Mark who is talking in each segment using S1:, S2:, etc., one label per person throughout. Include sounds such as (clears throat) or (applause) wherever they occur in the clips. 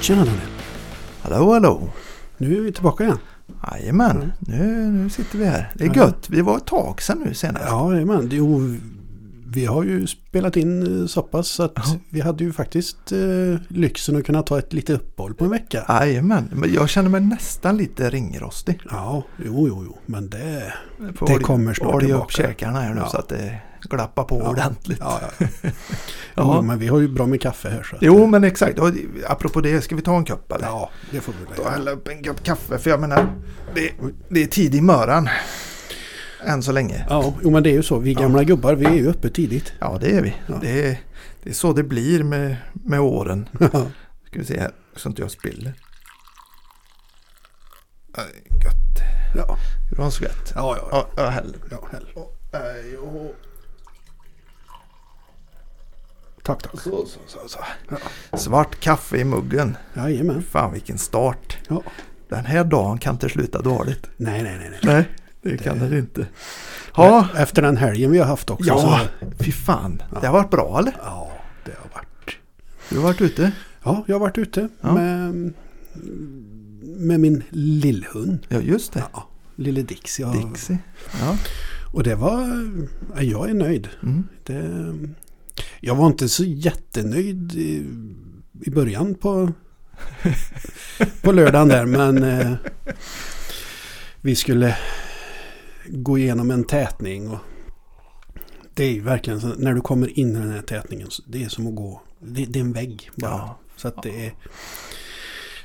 S1: Tjena Daniel.
S2: Hallå, hallå!
S1: Nu är vi tillbaka igen.
S2: Jajamän,
S1: Mm.
S2: nu, nu sitter vi här. Det är
S1: Ja.
S2: gött, vi var ett tag sedan nu senast.
S1: Ja, jajamän. Jo, vi har ju spelat in eh, så pass så att
S2: Ja.
S1: vi hade ju faktiskt eh, lyxen att kunna ta ett litet uppehåll på en vecka.
S2: Jajamän, men jag känner mig nästan lite ringrostig.
S1: Ja, jo, jo, jo, men det...
S2: Får
S1: Det
S2: olja-
S1: kommer snart
S2: olja upp
S1: tillbaka.
S2: käkarna här nu
S1: Ja.
S2: så att det glappar på
S1: Ja.
S2: ordentligt.
S1: Ja, (laughs) ja.
S2: Ja.
S1: Jo, men vi har ju bra med kaffe här så att,
S2: Jo, men exakt. Och apropå det, ska vi ta en kopp eller?
S1: Ja, det får vi väl
S2: Och
S1: göra.
S2: hälla upp en kopp kaffe för jag menar det, det är tidig möran. Än så länge.
S1: Ja, jo, men det är ju så. Vi gamla gubbar, vi är ju uppe tidigt.
S2: Ja det är vi.
S1: Ja.
S2: Det, är, det är så det blir med, med åren.
S1: (laughs) Ja,
S2: Ska vi se här så inte jag spiller. Aj, Gött.
S1: ja,
S2: Det var en skvätt.
S1: ja. ja.
S2: Ja, jag häller.
S1: ja hell.
S2: Aj, och-
S1: Tack, tack.
S2: Så, så, så, så.
S1: Ja.
S2: Svart kaffe i muggen.
S1: Jajamän.
S2: Fan vilken start.
S1: Ja.
S2: Den här dagen kan inte sluta dåligt.
S1: Nej, nej, nej. nej.
S2: Nej, det kan den inte. Ja,
S1: Efter den helgen vi har haft också.
S2: ja,
S1: Så,
S2: fy fan. Det har varit bra eller?
S1: ja, det har varit.
S2: Du har varit ute?
S1: Ja, jag har varit ute
S2: Ja.
S1: med, med min lillhund.
S2: Ja, just det.
S1: Ja, lille Dix. Jag,
S2: Dixie. Ja.
S1: Och det var... ja, Jag är nöjd.
S2: Mm.
S1: Det, jag var inte så jättenöjd i, i början på, på lördagen där. Men eh, vi skulle gå igenom en tätning. Och det är ju verkligen så, när du kommer in i den här tätningen. så Det är som att gå... Det, det är en vägg bara.
S2: ja,
S1: Så att det är,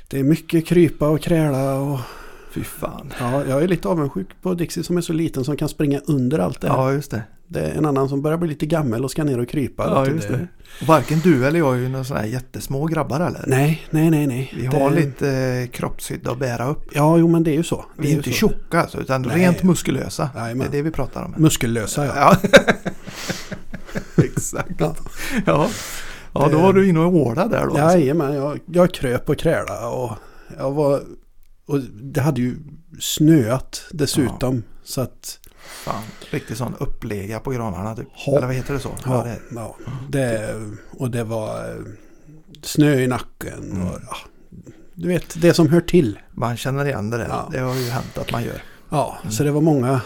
S1: det är mycket krypa och kräla och
S2: fy fan.
S1: ja, jag är lite avundsjuk på Dixie som är så liten som kan springa under allt det här.
S2: Ja, just det.
S1: Det är en annan som börjar bli lite gammal och ska ner och krypa.
S2: Ja,
S1: vet du,
S2: just det. Varken du eller jag är ju några sådana här jättesmå grabbar eller?
S1: Nej, nej, nej, nej.
S2: Vi har
S1: det,
S2: lite eh, kroppshydda att bära upp.
S1: Ja, jo men det är ju så. Det
S2: Vi är inte
S1: ju så.
S2: tjocka alltså, utan
S1: Nej.
S2: rent muskulösa. Det är
S1: Jajamän.
S2: det vi pratar om. här.
S1: Muskellösa ja. (laughs)
S2: Ja. Exakt.
S1: Ja.
S2: Ja. ja, då
S1: Det-
S2: var du inne och ålade där då. alltså.
S1: Jajamän, jag, jag kröp och kräla och jag var... Och det hade ju snöat dessutom. Så att...
S2: Fan, riktigt sån upplega på granarna typ.
S1: Ja.
S2: Eller vad heter det så? Ja,
S1: Ja,
S2: det,
S1: ja. Det, och det var eh, snö i nacken. Och,
S2: Mm.
S1: ja, du vet, det som hör till.
S2: man känner igen det där.
S1: Ja.
S2: Det har ju hänt att man gör.
S1: Ja,
S2: Mm.
S1: så det var många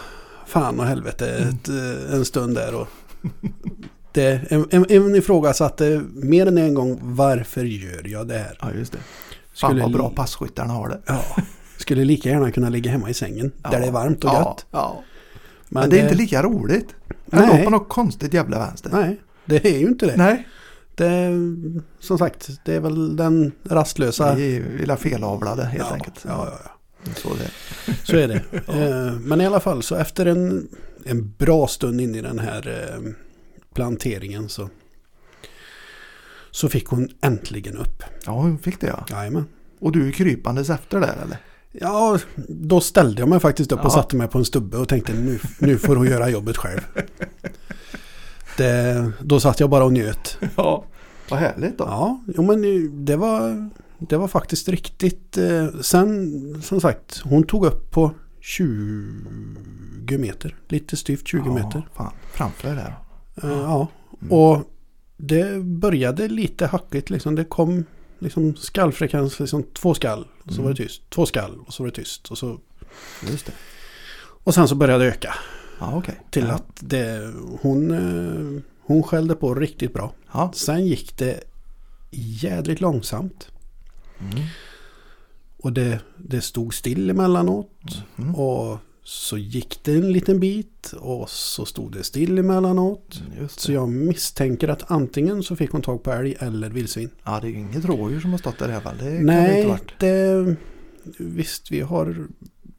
S1: fan och helvete ett, eh, en stund där. Och det, en, en, en ifrågasatte mer än en gång varför gör jag det här?
S2: Ja, just det. Fan
S1: Skulle
S2: vad bra
S1: li-
S2: passkyttarna har det.
S1: Ja, skulle lika gärna kunna ligga hemma i sängen där det är varmt och
S2: ja,
S1: gött.
S2: Ja. Men, det är inte lika roligt. Jag
S1: Nej.
S2: låg på något konstigt jävla vänster.
S1: Nej, det är ju inte det.
S2: Nej.
S1: det. Som sagt, det är väl den rastlösa...
S2: Vi är ju illa felavlade helt
S1: ja,
S2: enkelt.
S1: Ja, ja, ja.
S2: Så det.
S1: Så är det. Eh, Men i alla fall så efter en, en bra stund in i den här eh, planteringen så, så fick hon äntligen upp.
S2: ja, hon fick det ja.
S1: Jajamän.
S2: Och du är krypandes efter där
S1: (laughs)
S2: eller?
S1: Ja, då ställde jag mig faktiskt upp
S2: Ja.
S1: och satte mig på en stubbe och tänkte nu, nu får hon göra jobbet själv. Det, då satt jag bara och njöt.
S2: Ja. Vad härligt då.
S1: Ja, jo, men nu- det var, det var faktiskt riktigt. eh, Sen som sagt, hon tog upp på 20 meter. Lite styvt 20 meter.
S2: Ja, fan. Framför dig där.
S1: Eh, Ja, och det började lite hackigt liksom. Det kom liksom skallfrekvens, liksom två skall och så var det tyst. Två skall och så var det tyst. Och, så,
S2: Just det.
S1: och sen så började det öka
S2: Ja, okej.
S1: till
S2: ja.
S1: att det, hon, eh, hon skällde på riktigt bra.
S2: Ja.
S1: Sen gick det jädrigt långsamt.
S2: Mm.
S1: Och det, det stod still emellanåt.
S2: Mm.
S1: Och så gick det en liten bit och så stod det still emellanåt.
S2: Mm. Just
S1: Så
S2: det.
S1: jag misstänker att antingen så fick hon tag på älg eller vildsvin.
S2: Ja, det är ju inget rådjur som har stått där i alla fall. Det kan det inte
S1: Nej,
S2: varit.
S1: det, visst vi har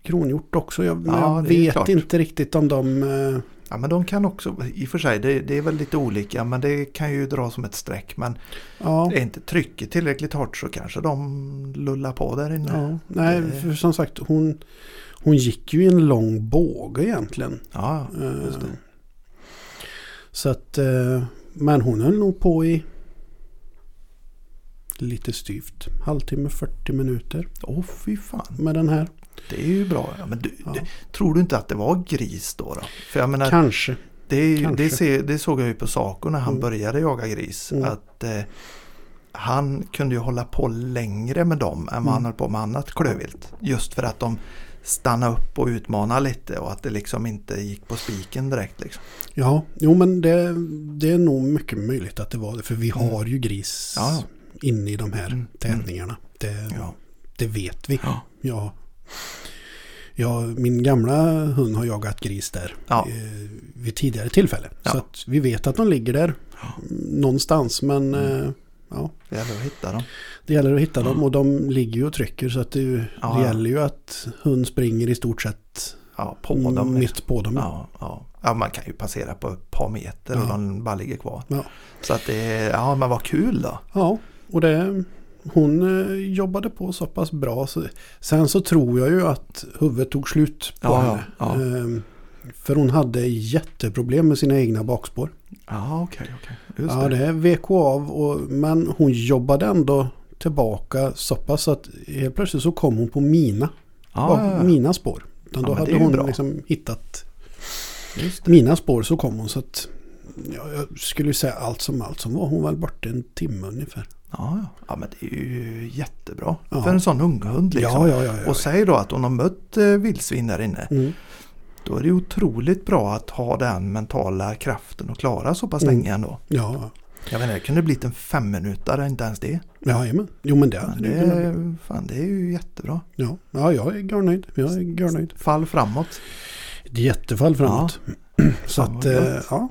S1: kronhjort också. Jag, men
S2: Ja,
S1: jag
S2: det är
S1: vet
S2: klart.
S1: inte riktigt om de... eh,
S2: Ja, men de kan också, i och för sig, det, det är väl lite olika, men det kan ju dra som ett streck. Men
S1: Ja,
S2: är inte trycket tillräckligt hårt så kanske de lullar på där inne.
S1: ja. Nej,
S2: det-
S1: för som sagt hon, hon gick ju i en lång båge egentligen.
S2: Ja,
S1: Eh,
S2: just det.
S1: Så att, eh, men hon höll nog på i lite styvt. Halvtimme, 40 minuter
S2: Åh fy fan,
S1: med den här.
S2: det är ju bra. Ja, men du,
S1: Ja.
S2: du, tror du inte att det var gris då? då? För jag menar,
S1: Kanske.
S2: Det, är ju,
S1: Kanske.
S2: det, ser, det såg jag ju på Saco när han
S1: Mm.
S2: började jaga gris.
S1: Mm.
S2: Att eh, Han kunde ju hålla på längre med dem än vad han
S1: Mm.
S2: höll på med annat klövvilt. Just för att de stannade upp och utmanade lite och att det liksom inte gick på spiken direkt. Liksom.
S1: Ja, jo men det, det är nog mycket möjligt att det var det. För vi
S2: Mm.
S1: har ju gris
S2: Ja.
S1: inne i de här
S2: Mm.
S1: tävlingarna. Det,
S2: Ja.
S1: det vet vi.
S2: Ja.
S1: Ja. Ja, min gamla hund har jagat gris där
S2: Ja.
S1: eh, vid tidigare tillfälle.
S2: Ja.
S1: Så att vi vet att de ligger där någonstans. Men
S2: Mm.
S1: eh, ja,
S2: Det gäller att hitta dem.
S1: det gäller att hitta dem och de ligger ju och trycker. Så att det,
S2: Ja.
S1: det gäller ju att hund springer i stort sett
S2: Ja, på
S1: Mm,
S2: dem. liksom.
S1: mitt på dem.
S2: Ja, ja. ja, man kan ju passera på ett par meter och
S1: Ja.
S2: de bara ligger kvar.
S1: Ja.
S2: Så att det, ja men vad kul då.
S1: Ja, och det, hon eh, jobbade på så pass bra. Så, sen så tror jag ju att huvudet tog slut på
S2: Ja,
S1: henne.
S2: ja, ja.
S1: Ehm, för hon hade jätteproblem med sina egna bakspår.
S2: Ja, okej, okej. Just
S1: Ja,
S2: det.
S1: det vek hon av. Och, men hon jobbade ändå tillbaka så pass att helt plötsligt så kom hon på mina,
S2: Ja,
S1: bak-
S2: Ah, ja, ja.
S1: mina spår. Utan
S2: Ja, men
S1: då
S2: det
S1: hade
S2: är ju
S1: hon
S2: bra.
S1: liksom hittat
S2: Just det.
S1: mina spår så kom hon. Så att, ja, jag skulle ju säga allt som allt som var. Hon var borta en timme ungefär.
S2: Ja, ja. ja, men det är ju jättebra
S1: Ja.
S2: för en sån unghund. Liksom.
S1: Ja, ja, ja. ja.
S2: Och säg då att hon har mött eh, vildsvin där inne.
S1: Mm.
S2: Då är det otroligt bra att ha den mentala kraften och klara så pass
S1: Mm.
S2: länge ändå.
S1: Ja,
S2: Jag menar, det kunde blivit en femminutare, inte ens det.
S1: jajamän. Jo men det
S2: Men
S1: hade
S2: det,
S1: det kunnat bli.
S2: är, fan, det är ju jättebra.
S1: Ja. ja, jag är görnöjd. Jag är görnöjd.
S2: Fall framåt.
S1: Ett jättefall framåt. Så
S2: Fan,
S1: att,
S2: vad
S1: eh,
S2: gött.
S1: ja.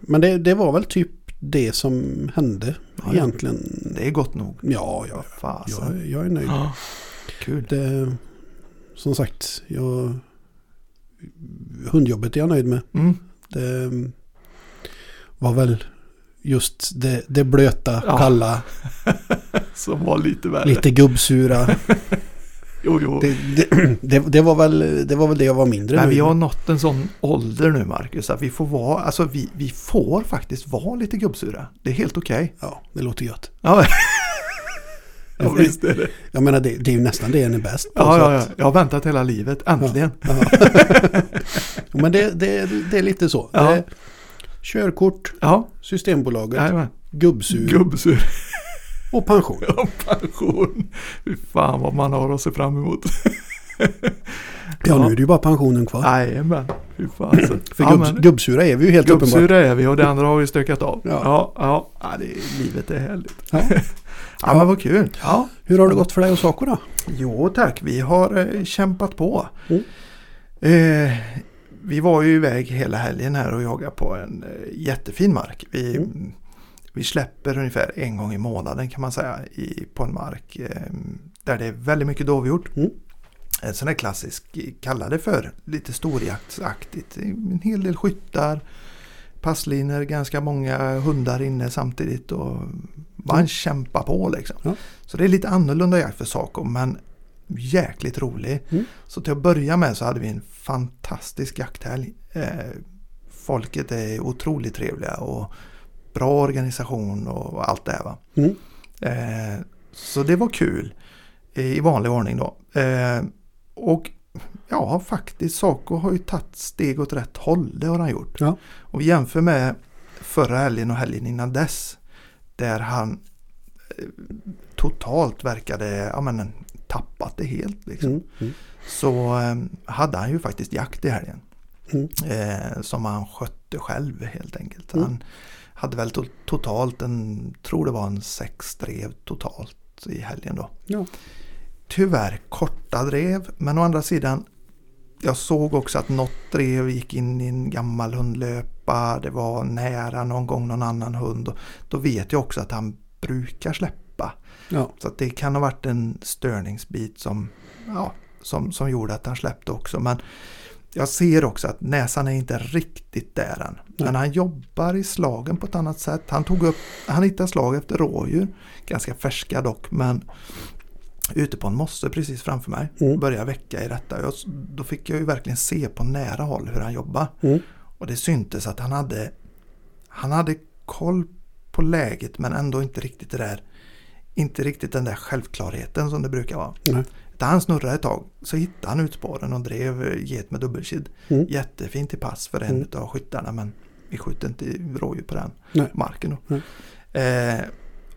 S1: Men det, det var väl typ det som hände
S2: Ja, ja.
S1: egentligen.
S2: Det är gott nog.
S1: Ja, ja.
S2: Fasen.
S1: Jag, jag är nöjd.
S2: Ja. Kul.
S1: Det, som sagt, jag, hundjobbet är jag nöjd med.
S2: Mm.
S1: Det var väl just det, det blöta,
S2: Ja.
S1: kalla,
S2: Som var lite värre.
S1: lite gubbsura.
S2: (laughs) Jo, jo.
S1: Det, det, (clears throat) det, det, var väl, det var väl det jag var mindre
S2: Men
S1: nöjd
S2: vi har
S1: med.
S2: nått en sån ålder nu Marcus att vi får vara, alltså vi, vi får faktiskt vara lite gubbsura. Det är helt okej.
S1: Ja, det låter gött.
S2: Ja. (laughs) ja, visst är det.
S1: Jag menar det, det är ju nästan det en är bäst på.
S2: Ja,
S1: så
S2: ja, ja.
S1: att-
S2: Jag har väntat hela livet, äntligen.
S1: Ja. (laughs) Men det, det, det är lite så.
S2: Ja.
S1: Det, körkort,
S2: Ja,
S1: Systembolaget,
S2: jajamän.
S1: gubbsur
S2: Gubbsur
S1: och pension.
S2: och pension. Fy fan vad man har att se fram emot.
S1: Ja,
S2: Ja.
S1: nu är det ju bara pensionen kvar.
S2: Jajamän, fy (clears throat) fan. alltså.
S1: För
S2: Ja,
S1: gubbs,
S2: men-
S1: gubbsura är vi ju helt uppenbart.
S2: Gubbsura är vi och det andra har vi stökat av.
S1: Ja.
S2: Ja, ja. ja. det är, livet är härligt.
S1: Ja.
S2: (laughs) Ja, men vad kul. Ja.
S1: Hur har det gått för dig och Saco då?
S2: Jo tack, vi har eh, kämpat på.
S1: Mm.
S2: Eh, vi var ju iväg hela helgen här och jagade på en eh, jättefin mark. Vi,
S1: Mm.
S2: vi släpper ungefär en gång i månaden kan man säga i, på en mark eh, där det är väldigt mycket dovhjort.
S1: Mm.
S2: En sån här klassisk, kallade för lite storjaktsaktigt. En hel del skyttar, passliner, ganska många hundar inne samtidigt och man
S1: Mm.
S2: kämpar på liksom.
S1: Ja.
S2: Så det är lite annorlunda jakt för Saco men jäkligt rolig.
S1: Mm.
S2: Så till att börja med så hade vi en fantastisk jakthelg. Eh, folket är otroligt trevliga och bra organisation och allt det här. Va?
S1: Mm.
S2: Eh, så det var kul eh, i vanlig ordning då. Eh, och ja, faktiskt Saco har ju tagit steg åt rätt håll. Det har han gjort.
S1: Ja.
S2: Och vi jämför med förra helgen och helgen innan dess. Där han eh, totalt verkade ja, men, tappat det helt. Liksom
S1: Mm. Mm.
S2: så eh, hade han ju faktiskt jakt i helgen.
S1: Mm.
S2: Eh, som han skötte själv helt enkelt.
S1: Mm.
S2: Han hade väl to- totalt en, tror det var en sex drev totalt i helgen då.
S1: Ja.
S2: Tyvärr korta drev, men å andra sidan jag såg också att något drev gick in i en gammal hundlöpa. Det var nära någon gång någon annan hund. Och Då vet jag också att han brukar släppa.
S1: Ja.
S2: Så att det kan ha varit en störningsbit som, ja, som, som gjorde att han släppte också. Men jag ser också att näsan är inte riktigt där än. Men han jobbar i slagen på ett annat sätt. Han tog upp, han hittade slag efter rådjur. Ganska färska dock men ute på en mosse precis framför mig.
S1: Mm.
S2: Började väcka i detta. Jag, då fick jag ju verkligen se på nära håll hur han jobbar.
S1: Mm.
S2: Och det syntes att han hade, han hade koll på läget men ändå inte riktigt det där inte riktigt den där självklarheten som det brukar vara.
S1: Nej.
S2: Där han snurrade ett tag så hittade han utspåren och drev eh, get med dubbelkid.
S1: Mm.
S2: Jättefint i pass för en
S1: Mm.
S2: av skyttarna men vi skjuter inte i rådjur på den
S1: Nej.
S2: marken. Då.
S1: Nej.
S2: Eh,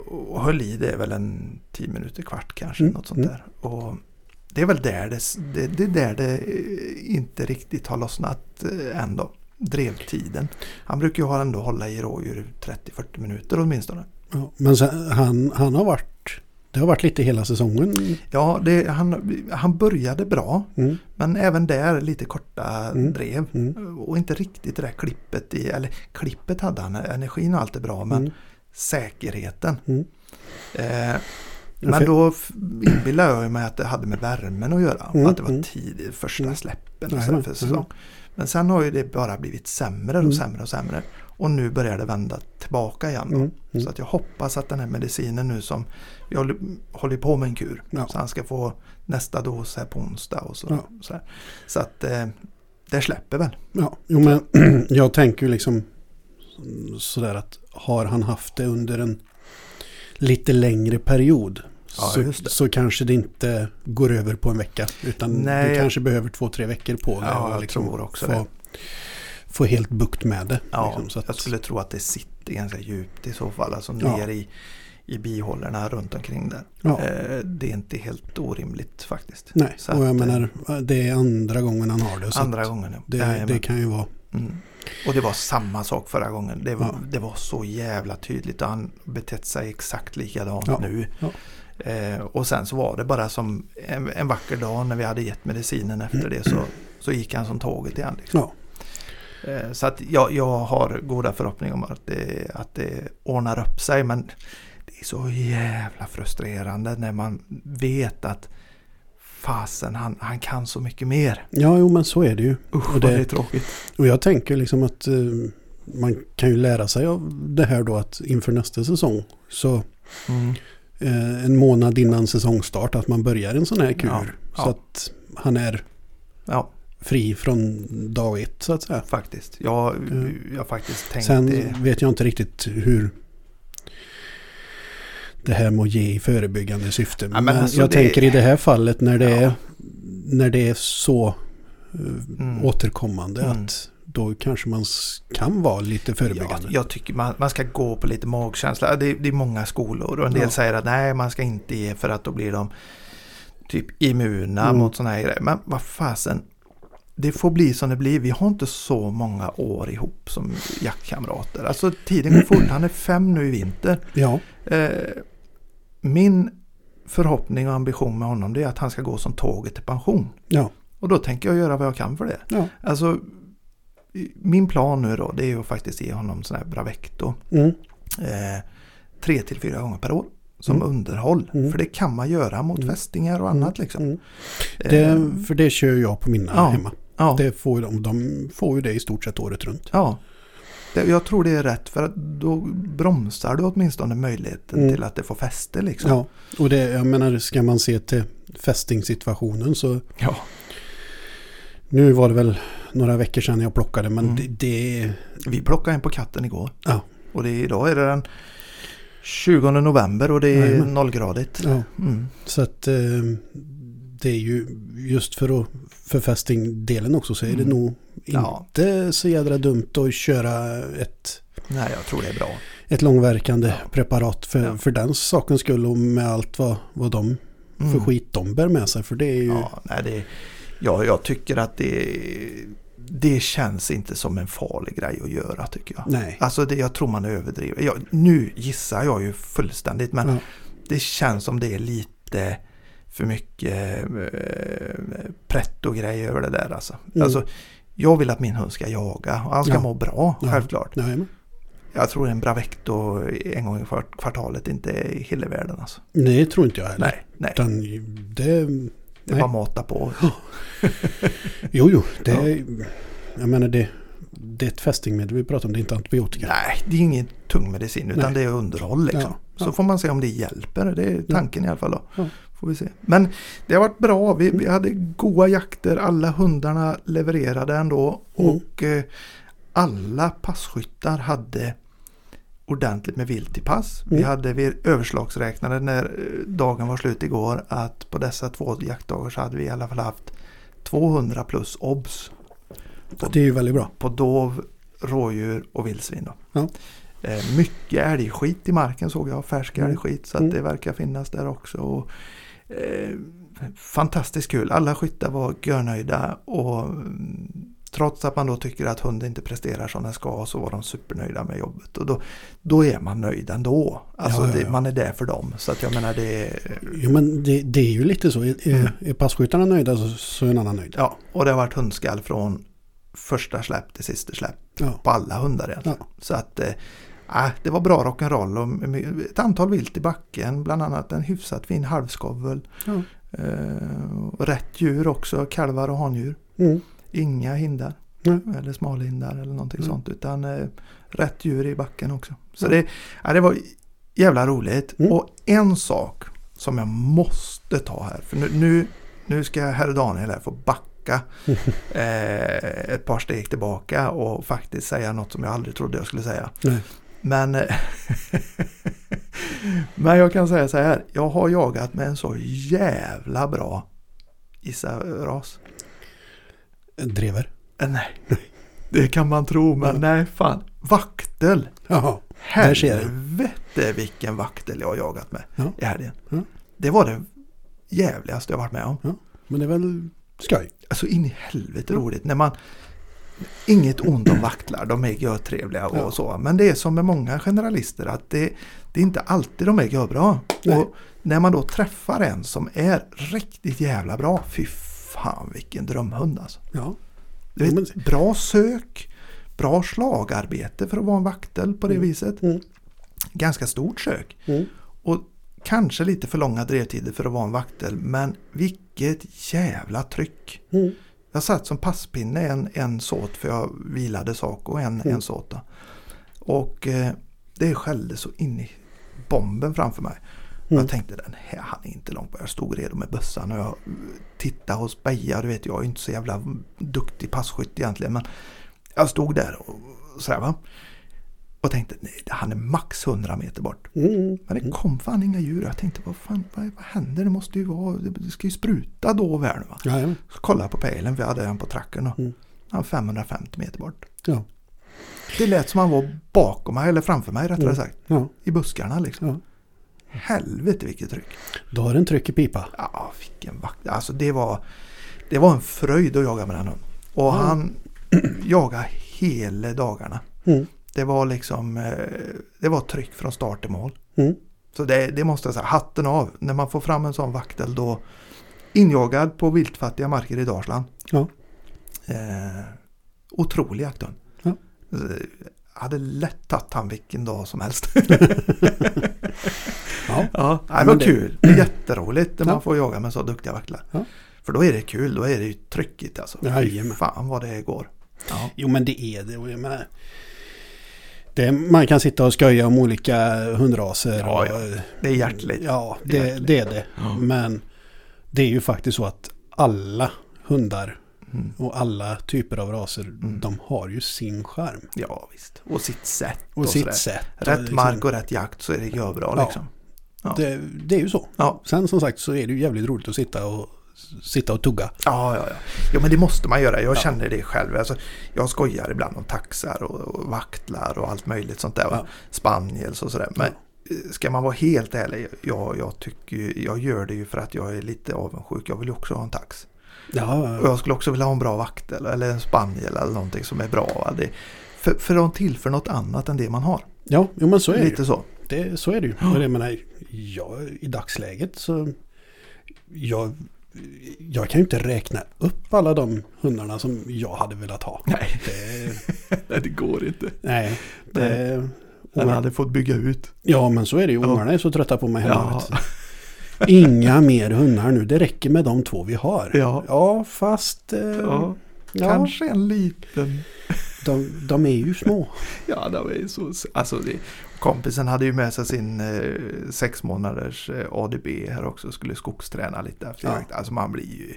S2: och höll i det väl en 10 minuter, kvart kanske.
S1: Mm.
S2: Något sånt
S1: Mm.
S2: där. Och det är väl där det, s- det, det, är där det eh, inte riktigt har lossnat eh, än då. Drevtiden. Han brukar ju ha- ändå hålla i rådjur 30-40 minuter åtminstone.
S1: Ja, men sen, han, han har varit, det har varit lite hela säsongen.
S2: Ja, det, han, han började bra.
S1: Mm.
S2: Men även där lite korta
S1: Mm.
S2: drev.
S1: Mm.
S2: Och inte riktigt det där klippet i, eller klippet hade han, energin och allt är bra men
S1: Mm.
S2: säkerheten.
S1: Mm.
S2: Eh,
S1: För-
S2: men då f- inbillade jag mig att det hade med värmen att göra.
S1: Mm,
S2: Att det var
S1: mm.
S2: tidigt, första
S1: Mm.
S2: släppen och
S1: Nej,
S2: sådär
S1: nej,
S2: för säsong. Men sen har ju det bara blivit sämre och
S1: Mm.
S2: sämre och sämre. Och nu börjar det vända tillbaka igen. Då.
S1: Mm. Mm.
S2: Så att jag hoppas att den här medicinen nu som jag håller- håller på med en kur.
S1: Ja.
S2: Så han ska få nästa dos här på onsdag och så.
S1: Ja.
S2: Så, här. så att eh, det släpper väl.
S1: Ja, jo, men (clears throat) jag tänker ju liksom sådär att har han haft det under en lite längre period
S2: Ja,
S1: så,
S2: just det.
S1: så kanske det inte går över på en vecka. Utan
S2: Nej,
S1: du
S2: jag-
S1: kanske behöver två, tre veckor på dig
S2: Ja,
S1: och liksom
S2: jag tror också
S1: få,
S2: det.
S1: få helt bukt med det.
S2: Ja,
S1: liksom, så att,
S2: Jag skulle tro att det sitter ganska djupt i så fall. Alltså
S1: Ja.
S2: ner i, i bihålorna runt omkring där.
S1: ja,
S2: Eh, det är inte helt orimligt faktiskt.
S1: nej,
S2: så
S1: och jag
S2: att, eh,
S1: menar det är andra gången han har det. Så
S2: Andra
S1: att
S2: gången ja.
S1: det,
S2: Jajamän.
S1: det kan ju vara...
S2: Mm. Och det var samma sak förra gången. Det var,
S1: Ja.
S2: det var så jävla tydligt och han betett sig exakt likadant
S1: Ja,
S2: nu.
S1: ja.
S2: Eh, och sen så var det bara som en, en vacker dag när vi hade gett medicinen efter det så, så gick han som tåget igen. Liksom.
S1: Ja,
S2: Eh, så att jag, jag har goda förhoppningar om att det, att det ordnar upp sig. Men det är så jävla frustrerande när man vet att fasen han, han kan så mycket mer.
S1: ja jo, men så är det ju.
S2: Usch
S1: Och
S2: vad det
S1: det-
S2: är tråkigt.
S1: Och jag tänker liksom att eh, man kan ju lära sig av det här då att inför nästa säsong så
S2: Mm.
S1: eh, en månad innan säsongstart att man börjar en sån här kur.
S2: Ja, ja.
S1: Så att han är
S2: Ja.
S1: fri från dag ett så att säga.
S2: Faktiskt. Jag,
S1: Mm.
S2: jag har faktiskt tänkt
S1: Sen
S2: det.
S1: vet jag inte riktigt hur det här med att ge i förebyggande syfte.
S2: men
S1: men
S2: alltså
S1: jag
S2: det-
S1: tänker i det här fallet när det,
S2: Ja.
S1: är, när det är så eh,
S2: Mm.
S1: återkommande
S2: Mm.
S1: att då kanske man s- kan vara lite
S2: Jag,
S1: förebyggande.
S2: jag tycker man, man ska gå på lite magkänsla. Det, det är många skolor och en del
S1: Ja.
S2: säger att nej man ska inte ge för att då blir de typ immuna
S1: Mm.
S2: mot sådana här grejer. Men vad fasen. Det får bli som det blir. Vi har inte så många år ihop som jaktkamrater. Alltså tiden går fort. Han är fem nu i vinter.
S1: Ja,
S2: Eh, min förhoppning och ambition med honom det är att han ska gå som tåget till pension.
S1: ja,
S2: Och då tänker jag göra vad jag kan för det.
S1: ja.
S2: Alltså, i- min plan nu då det är ju att faktiskt ge honom sån här Bravecto.
S1: Mm.
S2: Eh, tre till fyra gånger per år. Som
S1: Mm.
S2: underhåll.
S1: Mm.
S2: För det kan man göra mot
S1: Mm.
S2: fästingar och annat liksom.
S1: Mm.
S2: Eh,
S1: Det, för det kör jag på mina
S2: Ja.
S1: hemma.
S2: ja,
S1: Det får de, de får ju det i stort sett året runt.
S2: ja. Det, jag tror det är rätt för att då bromsar du åtminstone möjligheten
S1: Mm.
S2: till att det får fäste liksom.
S1: Ja, och det, jag menar, ska man se till fästingsituationen så
S2: Ja.
S1: nu var det väl några veckor sedan jag plockade men
S2: Mm.
S1: det, det
S2: Vi plockade en på katten igår.
S1: Ja.
S2: Och det, är- idag är det den 20 november och det är
S1: Jajamän.
S2: nollgradigt.
S1: ja,
S2: Mm.
S1: så att eh, det är ju just för, att, för fästingdelen också så är det
S2: Mm.
S1: nog
S2: Ja.
S1: inte så jädra dumt att köra ett,
S2: Nej, jag tror det är bra.
S1: ett långverkande
S2: Ja.
S1: preparat för,
S2: Ja.
S1: för den sakens skull och med allt vad, vad de
S2: Mm.
S1: för skit de bär med sig för det är ju
S2: Ja, nej, det, ja, jag tycker att det, det känns inte som en farlig grej att göra tycker jag.
S1: nej.
S2: Alltså det, jag tror man överdriver. Jag, nu gissar jag ju fullständigt men
S1: Ja.
S2: det känns som det är lite för mycket eh, pretto-grej över det där alltså.
S1: Mm.
S2: alltså. Jag vill att min hund ska jaga och han ska
S1: Ja.
S2: må bra,
S1: Ja.
S2: självklart.
S1: Nej, men-
S2: Jag tror en Bravecto en gång i kvart- kvartalet inte är hillevärlden alltså.
S1: nej, tror inte jag heller.
S2: Nej, nej.
S1: Utan det
S2: Det
S1: Nej.
S2: bara matar på.
S1: Jo, jo. Det, Jag menar det, det är ett fästingmedel vi pratar om. Det är inte antibiotika.
S2: Nej, det är ingen tung medicin utan
S1: Nej.
S2: det är underhåll. Liksom.
S1: Ja, ja.
S2: Så får man se om det hjälper. Det är tanken i alla fall. Då.
S1: Ja. Mm.
S2: Får vi se. Men det har varit bra. Vi, vi hade goda jakter. Alla hundarna levererade ändå.
S1: Mm.
S2: Och eh, alla passkyttar hade ordentligt med vilt i pass. Vi
S1: Mm.
S2: hade vid överslagsräknade när eh, dagen var slut igår att på dessa två jaktdagar så hade vi i alla fall haft 200 plus obs
S1: Det är ju väldigt bra.
S2: på dov, rådjur och vildsvin. Då.
S1: Ja.
S2: Eh, Mycket älgskit i marken såg jag, färsk
S1: Mm.
S2: älgskit så att
S1: Mm.
S2: det verkar finnas där också. Och, eh, fantastiskt kul, alla skyttar var görnöjda och mm, trots att man då tycker att hunden inte presterar som den ska så var de supernöjda med jobbet. Och då, då är man nöjd ändå. Alltså
S1: Ja, ja,
S2: det-
S1: ja.
S2: man är där för dem. Så att jag menar det är,
S1: Jo, men det, det är ju lite så. Är,
S2: Mm.
S1: är passkyttarna nöjda så, så är en annan nöjd.
S2: ja, och det har varit hundskall från första släpp till sista släpp.
S1: Ja.
S2: på alla hundar egentligen.
S1: Ja.
S2: Så att eh, ah, det var bra rock'n'roll och my- ett antal vilt i backen. Bland annat en hyfsat fin halvskovel.
S1: Ja.
S2: Eh, och rätt djur också, kalvar och handjur.
S1: Mm.
S2: Inga hindar.
S1: Nej.
S2: Eller smalhindar eller någonting
S1: Mm.
S2: sånt. Utan eh, rätt djur i backen också. Så
S1: Ja.
S2: det, ja, det var jävla roligt.
S1: Mm.
S2: Och en sak som jag måste ta här. För nu, nu, nu ska herr Daniel här få
S1: (laughs)
S2: backa eh, ett par steg tillbaka och faktiskt säga något som jag aldrig trodde jag skulle säga.
S1: Nej.
S2: Men, eh, (laughs) men jag kan säga så här. Jag har jagat med en så jävla bra gissa eh, ras.
S1: Drever.
S2: Eh, Nej. Det kan man tro, men
S1: Ja.
S2: nej fan. Vaktel!
S1: Jaha. Mm. Där ser jag.
S2: Helvete vilken vaktel jag har jagat med
S1: Ja.
S2: i helgen.
S1: Ja.
S2: Det var det jävligaste jag varit med om.
S1: Men det är väl skoj.
S2: Alltså in i helvete roligt när man... Inget ont om vaktlar, de är görtrevliga och
S1: Ja.
S2: så. Men det är som med många generalister att det, det är inte alltid de är görbra.
S1: Nej.
S2: Och när man då träffar en som är riktigt jävla bra, fy fan vilken drömhund alltså.
S1: Ja.
S2: Du vet,
S1: Jo, men-
S2: Bra sök, bra slagarbete för att vara en vaktel på det
S1: Mm.
S2: viset.
S1: Mm.
S2: Ganska stort sök.
S1: Mm.
S2: Och kanske lite för långa drevtider för att vara en vaktel. Men vilket jävla tryck.
S1: Mm.
S2: Jag satt som passpinne en, en såt för jag vilade sak och
S1: Mm.
S2: en, en såt. Då. Och eh, det skällde så in i bomben framför mig.
S1: Mm.
S2: Jag tänkte den här han är inte långt på. Jag stod redo med bössan och jag eh, tittade och spejade. Du vet jag är inte så jävla duktig passkytt egentligen. Men jag stod där och sådär va. Och tänkte nej han är max 100 meter bort.
S1: Mm.
S2: Men det kom fan inga djur. Jag tänkte vad fan vad, vad händer? Det måste ju vara. Det ska ju spruta då och väl va.
S1: Ja, ja.
S2: Så kollade jag på pejlen, vi hade den på tracken. Och
S1: Mm.
S2: Han var 550 meter bort.
S1: Ja.
S2: Det lät som han var bakom mig, eller framför mig rättare
S1: Mm.
S2: sagt.
S1: ja.
S2: I buskarna liksom.
S1: Ja.
S2: Helvete vilket tryck.
S1: Då har en tryck i pipa.
S2: Ja, vilken vakt. Alltså det var, det var en fröjd att jaga med den hunden. Och
S1: Mm.
S2: han (clears throat) jagade hela dagarna.
S1: Mm.
S2: Det var liksom, eh, det var tryck från start till mål.
S1: Mm.
S2: Så det, det måste jag säga, hatten av. När man får fram en sån vaktel då injagad på viltfattiga marker i Dalsland.
S1: Ja.
S2: Eh, otrolig jakthund.
S1: Ja.
S2: Eh, hade lätt tagit han vilken dag som helst.
S1: Ja.
S2: ja. (laughs) nej,
S1: men
S2: Det var
S1: det-
S2: kul. Det är jätteroligt när
S1: Ja.
S2: man får jaga med så duktiga vaktlar.
S1: Ja.
S2: För då är det kul, då är det ju tryckigt alltså.
S1: Jajamän.
S2: Fan vad det går. Ja.
S1: Jo men det är det. Och jag menar, det man kan sitta och skoja om olika hundraser.
S2: Ja, ja.
S1: Och,
S2: Det är hjärtligt.
S1: ja
S2: Det är
S1: det,
S2: verkligen.
S1: det är det.
S2: Ja.
S1: Men det är ju faktiskt så att alla hundar
S2: Mm.
S1: och alla typer av raser, de har ju sin charm.
S2: Ja visst. Och sitt sätt.
S1: Och, sitt
S2: sådär.
S1: sätt. och
S2: Rätt
S1: liksom-
S2: mark och rätt jakt så är det görbra
S1: Ja.
S2: liksom. Ja.
S1: Det, det är ju så.
S2: Ja.
S1: Sen som sagt så är det ju jävligt roligt att sitta och, sitta och tugga.
S2: Ja, ja, ja. Jo, men det måste man göra. Jag känner det själv. Alltså, jag skojar ibland om taxar och, och vaktlar och allt möjligt sånt där. va.
S1: Ja.
S2: Spaniels och sådär. Men eh, ska man vara helt ärlig, jag, jag, tycker, ju- jag gör det ju för att jag är lite avundsjuk. Jag vill ju också ha en tax.
S1: Ja,
S2: Och jag skulle också vilja ha en bra vaktel eller en spaniel eller någonting som är bra. va. Det, för, för de tillför något annat än det man har.
S1: ja jo, men så är det ju.
S2: Lite så.
S1: Det, så är det ju. Och jag menar, jag, i dagsläget så... Jag, jag kan ju inte räkna upp alla de hundarna som jag hade velat ha.
S2: Nej, (laughs)
S1: Det,
S2: det går inte.
S1: nej, det,
S2: Den hade fått bygga ut.
S1: ja men så är det ju.
S2: Ja.
S1: Ungarna är så trötta på mig hela
S2: Ja.
S1: livet. Inga mer hundar nu. Det räcker med de två vi har.
S2: Ja.
S1: ja fast... Eh,
S2: Ja,
S1: ja.
S2: kanske en liten.
S1: de, de är ju små.
S2: Ja, det var ju så. Alltså, det, kompisen hade ju med sig sin eh, sex månaders eh, ADB här också. Skulle skogsträna lite efter
S1: Ja.
S2: jakt. Alltså man blir ju...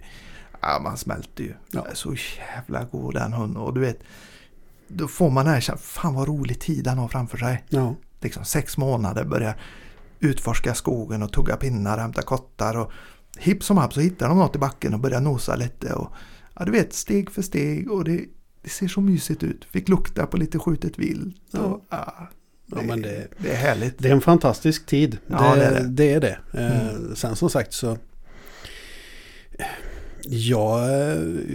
S2: Ja, man smälter ju.
S1: Ja.
S2: Så jävla god den hunden. Och du vet, då får man den här känslan. Fan vad rolig tid han har framför sig.
S1: Ja.
S2: Liksom sex månader, börjar utforska skogen och tugga pinnar, hämta kottar. Och hipp som happ så hittar de något i backen och börjar nosa lite. Och, ja, du vet, steg för steg. Och det, det ser så mysigt ut. Fick lukta på lite skjutet vilt. Och, ja, det,
S1: Ja, men det-
S2: är härligt.
S1: Det är en fantastisk tid.
S2: Ja, det Mm. är det.
S1: är det. Eh, Sen som sagt så... Ja,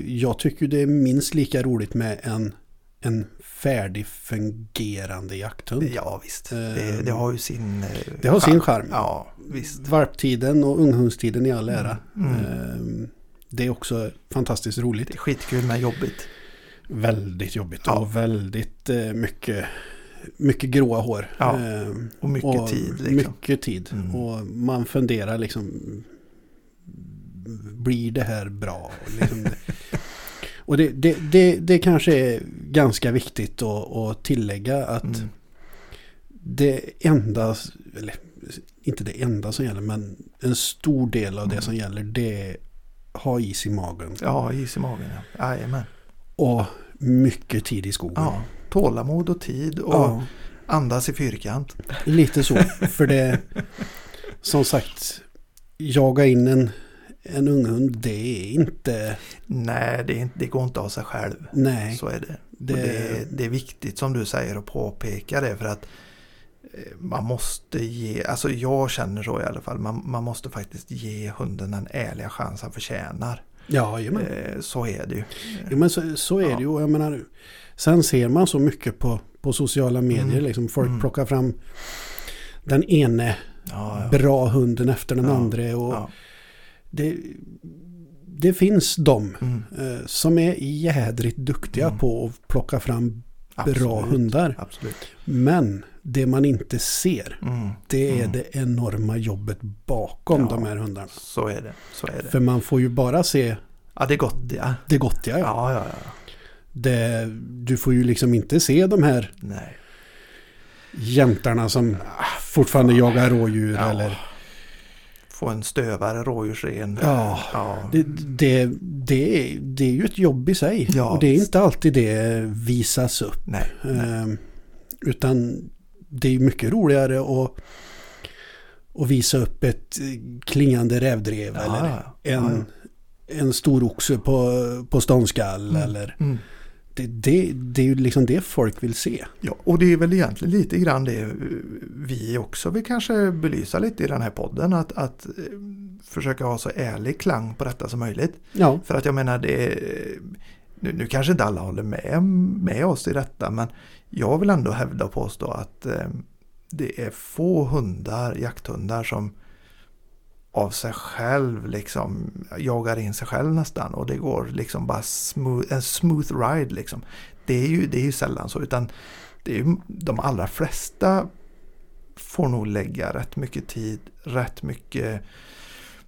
S1: jag tycker det är minst lika roligt med en, en färdig fungerande jakthund.
S2: Ja, visst. Det, det har ju sin... eh,
S1: Det har sin charm.
S2: Ja, visst.
S1: Varptiden och unghundstiden i all ära.
S2: Mm.
S1: Eh, Det är också fantastiskt roligt.
S2: Det är skitkul men jobbigt.
S1: Väldigt jobbigt
S2: Ja.
S1: och väldigt eh, mycket, mycket gråa hår.
S2: Ja.
S1: Eh,
S2: Och mycket
S1: och
S2: tid. Liksom.
S1: Mycket tid.
S2: Mm.
S1: Och man funderar liksom, blir det här bra? Och Liksom,
S2: (laughs)
S1: och det, det, det, det kanske är ganska viktigt att, att tillägga att
S2: Mm.
S1: det enda, eller inte det enda som gäller, men en stor del av det
S2: Mm.
S1: som gäller det är ha is i magen
S2: Ja, is i magen. ja. Jajamän.
S1: och mycket tid i skogen.
S2: Ja, tålamod och tid och
S1: Ja,
S2: andas i fyrkant.
S1: lite så. För det, som sagt, jaga in en, en unghund, det är inte,
S2: Nej, det, är inte, det går inte av sig själv.
S1: nej.
S2: Så är det. Det...
S1: Det-
S2: Och det, det är viktigt som du säger att påpeka det för att eh, man måste ge, alltså jag känner så i alla fall, man, man måste faktiskt ge hunden den ärliga chans han förtjänar.
S1: Ja, jajamän.
S2: Eh, så är det ju.
S1: Jo, men så, så är
S2: Ja.
S1: det ju. Och Jag menar, sen ser man så mycket på, på sociala medier.
S2: Mm.
S1: Liksom folk
S2: Mm.
S1: plockar fram den ene
S2: Ja, ja.
S1: bra hunden efter den
S2: Ja.
S1: andra. Och
S2: Ja.
S1: det, det finns de
S2: Mm,
S1: eh, som är jädrigt duktiga
S2: Mm.
S1: på att plocka fram bra
S2: absolut.
S1: hundar.
S2: Absolut.
S1: Men det man inte ser,
S2: Mm,
S1: det är
S2: Mm.
S1: det enorma jobbet bakom
S2: Ja.
S1: de här hundarna.
S2: så är det. Så är det.
S1: För man får ju bara se
S2: Ja, det är gott ja.
S1: det gottiga. Ja.
S2: Ja, ja, ja.
S1: Det, du får ju liksom inte se de här
S2: Nej.
S1: jämtarna som fortfarande jagar rådjur
S2: Ja.
S1: eller...
S2: Få en stövare rådjursren.
S1: Ja.
S2: ja.
S1: Det, det, det, är- det är ju ett jobb i sig.
S2: Ja.
S1: Och det är inte alltid det visas upp.
S2: Nej. Nej.
S1: Ehm, utan det är mycket roligare att, att visa upp ett eh, klingande rävdrev
S2: Ja,
S1: eller
S2: ja, ja.
S1: en, en stor oxe på, på ståndskall.
S2: Mm.
S1: Eller,
S2: Mm.
S1: det, det, det är ju liksom det folk vill se.
S2: Ja, och det är väl egentligen lite grann det eh, vi också vill kanske belysa lite i den här podden. Att, att eh, försöka ha så ärlig klang på detta som möjligt.
S1: Ja,
S2: För att jag menar, det, eh, nu, nu kanske inte alla håller med, med oss i detta men jag vill ändå hävda och påstå att eh, det är få hundar, jakthundar som av sig själv liksom jagar in sig själv nästan och det går liksom bara smooth, en smooth ride liksom. Det är ju, det är ju sällan så utan det är ju, de allra flesta får nog lägga rätt mycket tid, rätt mycket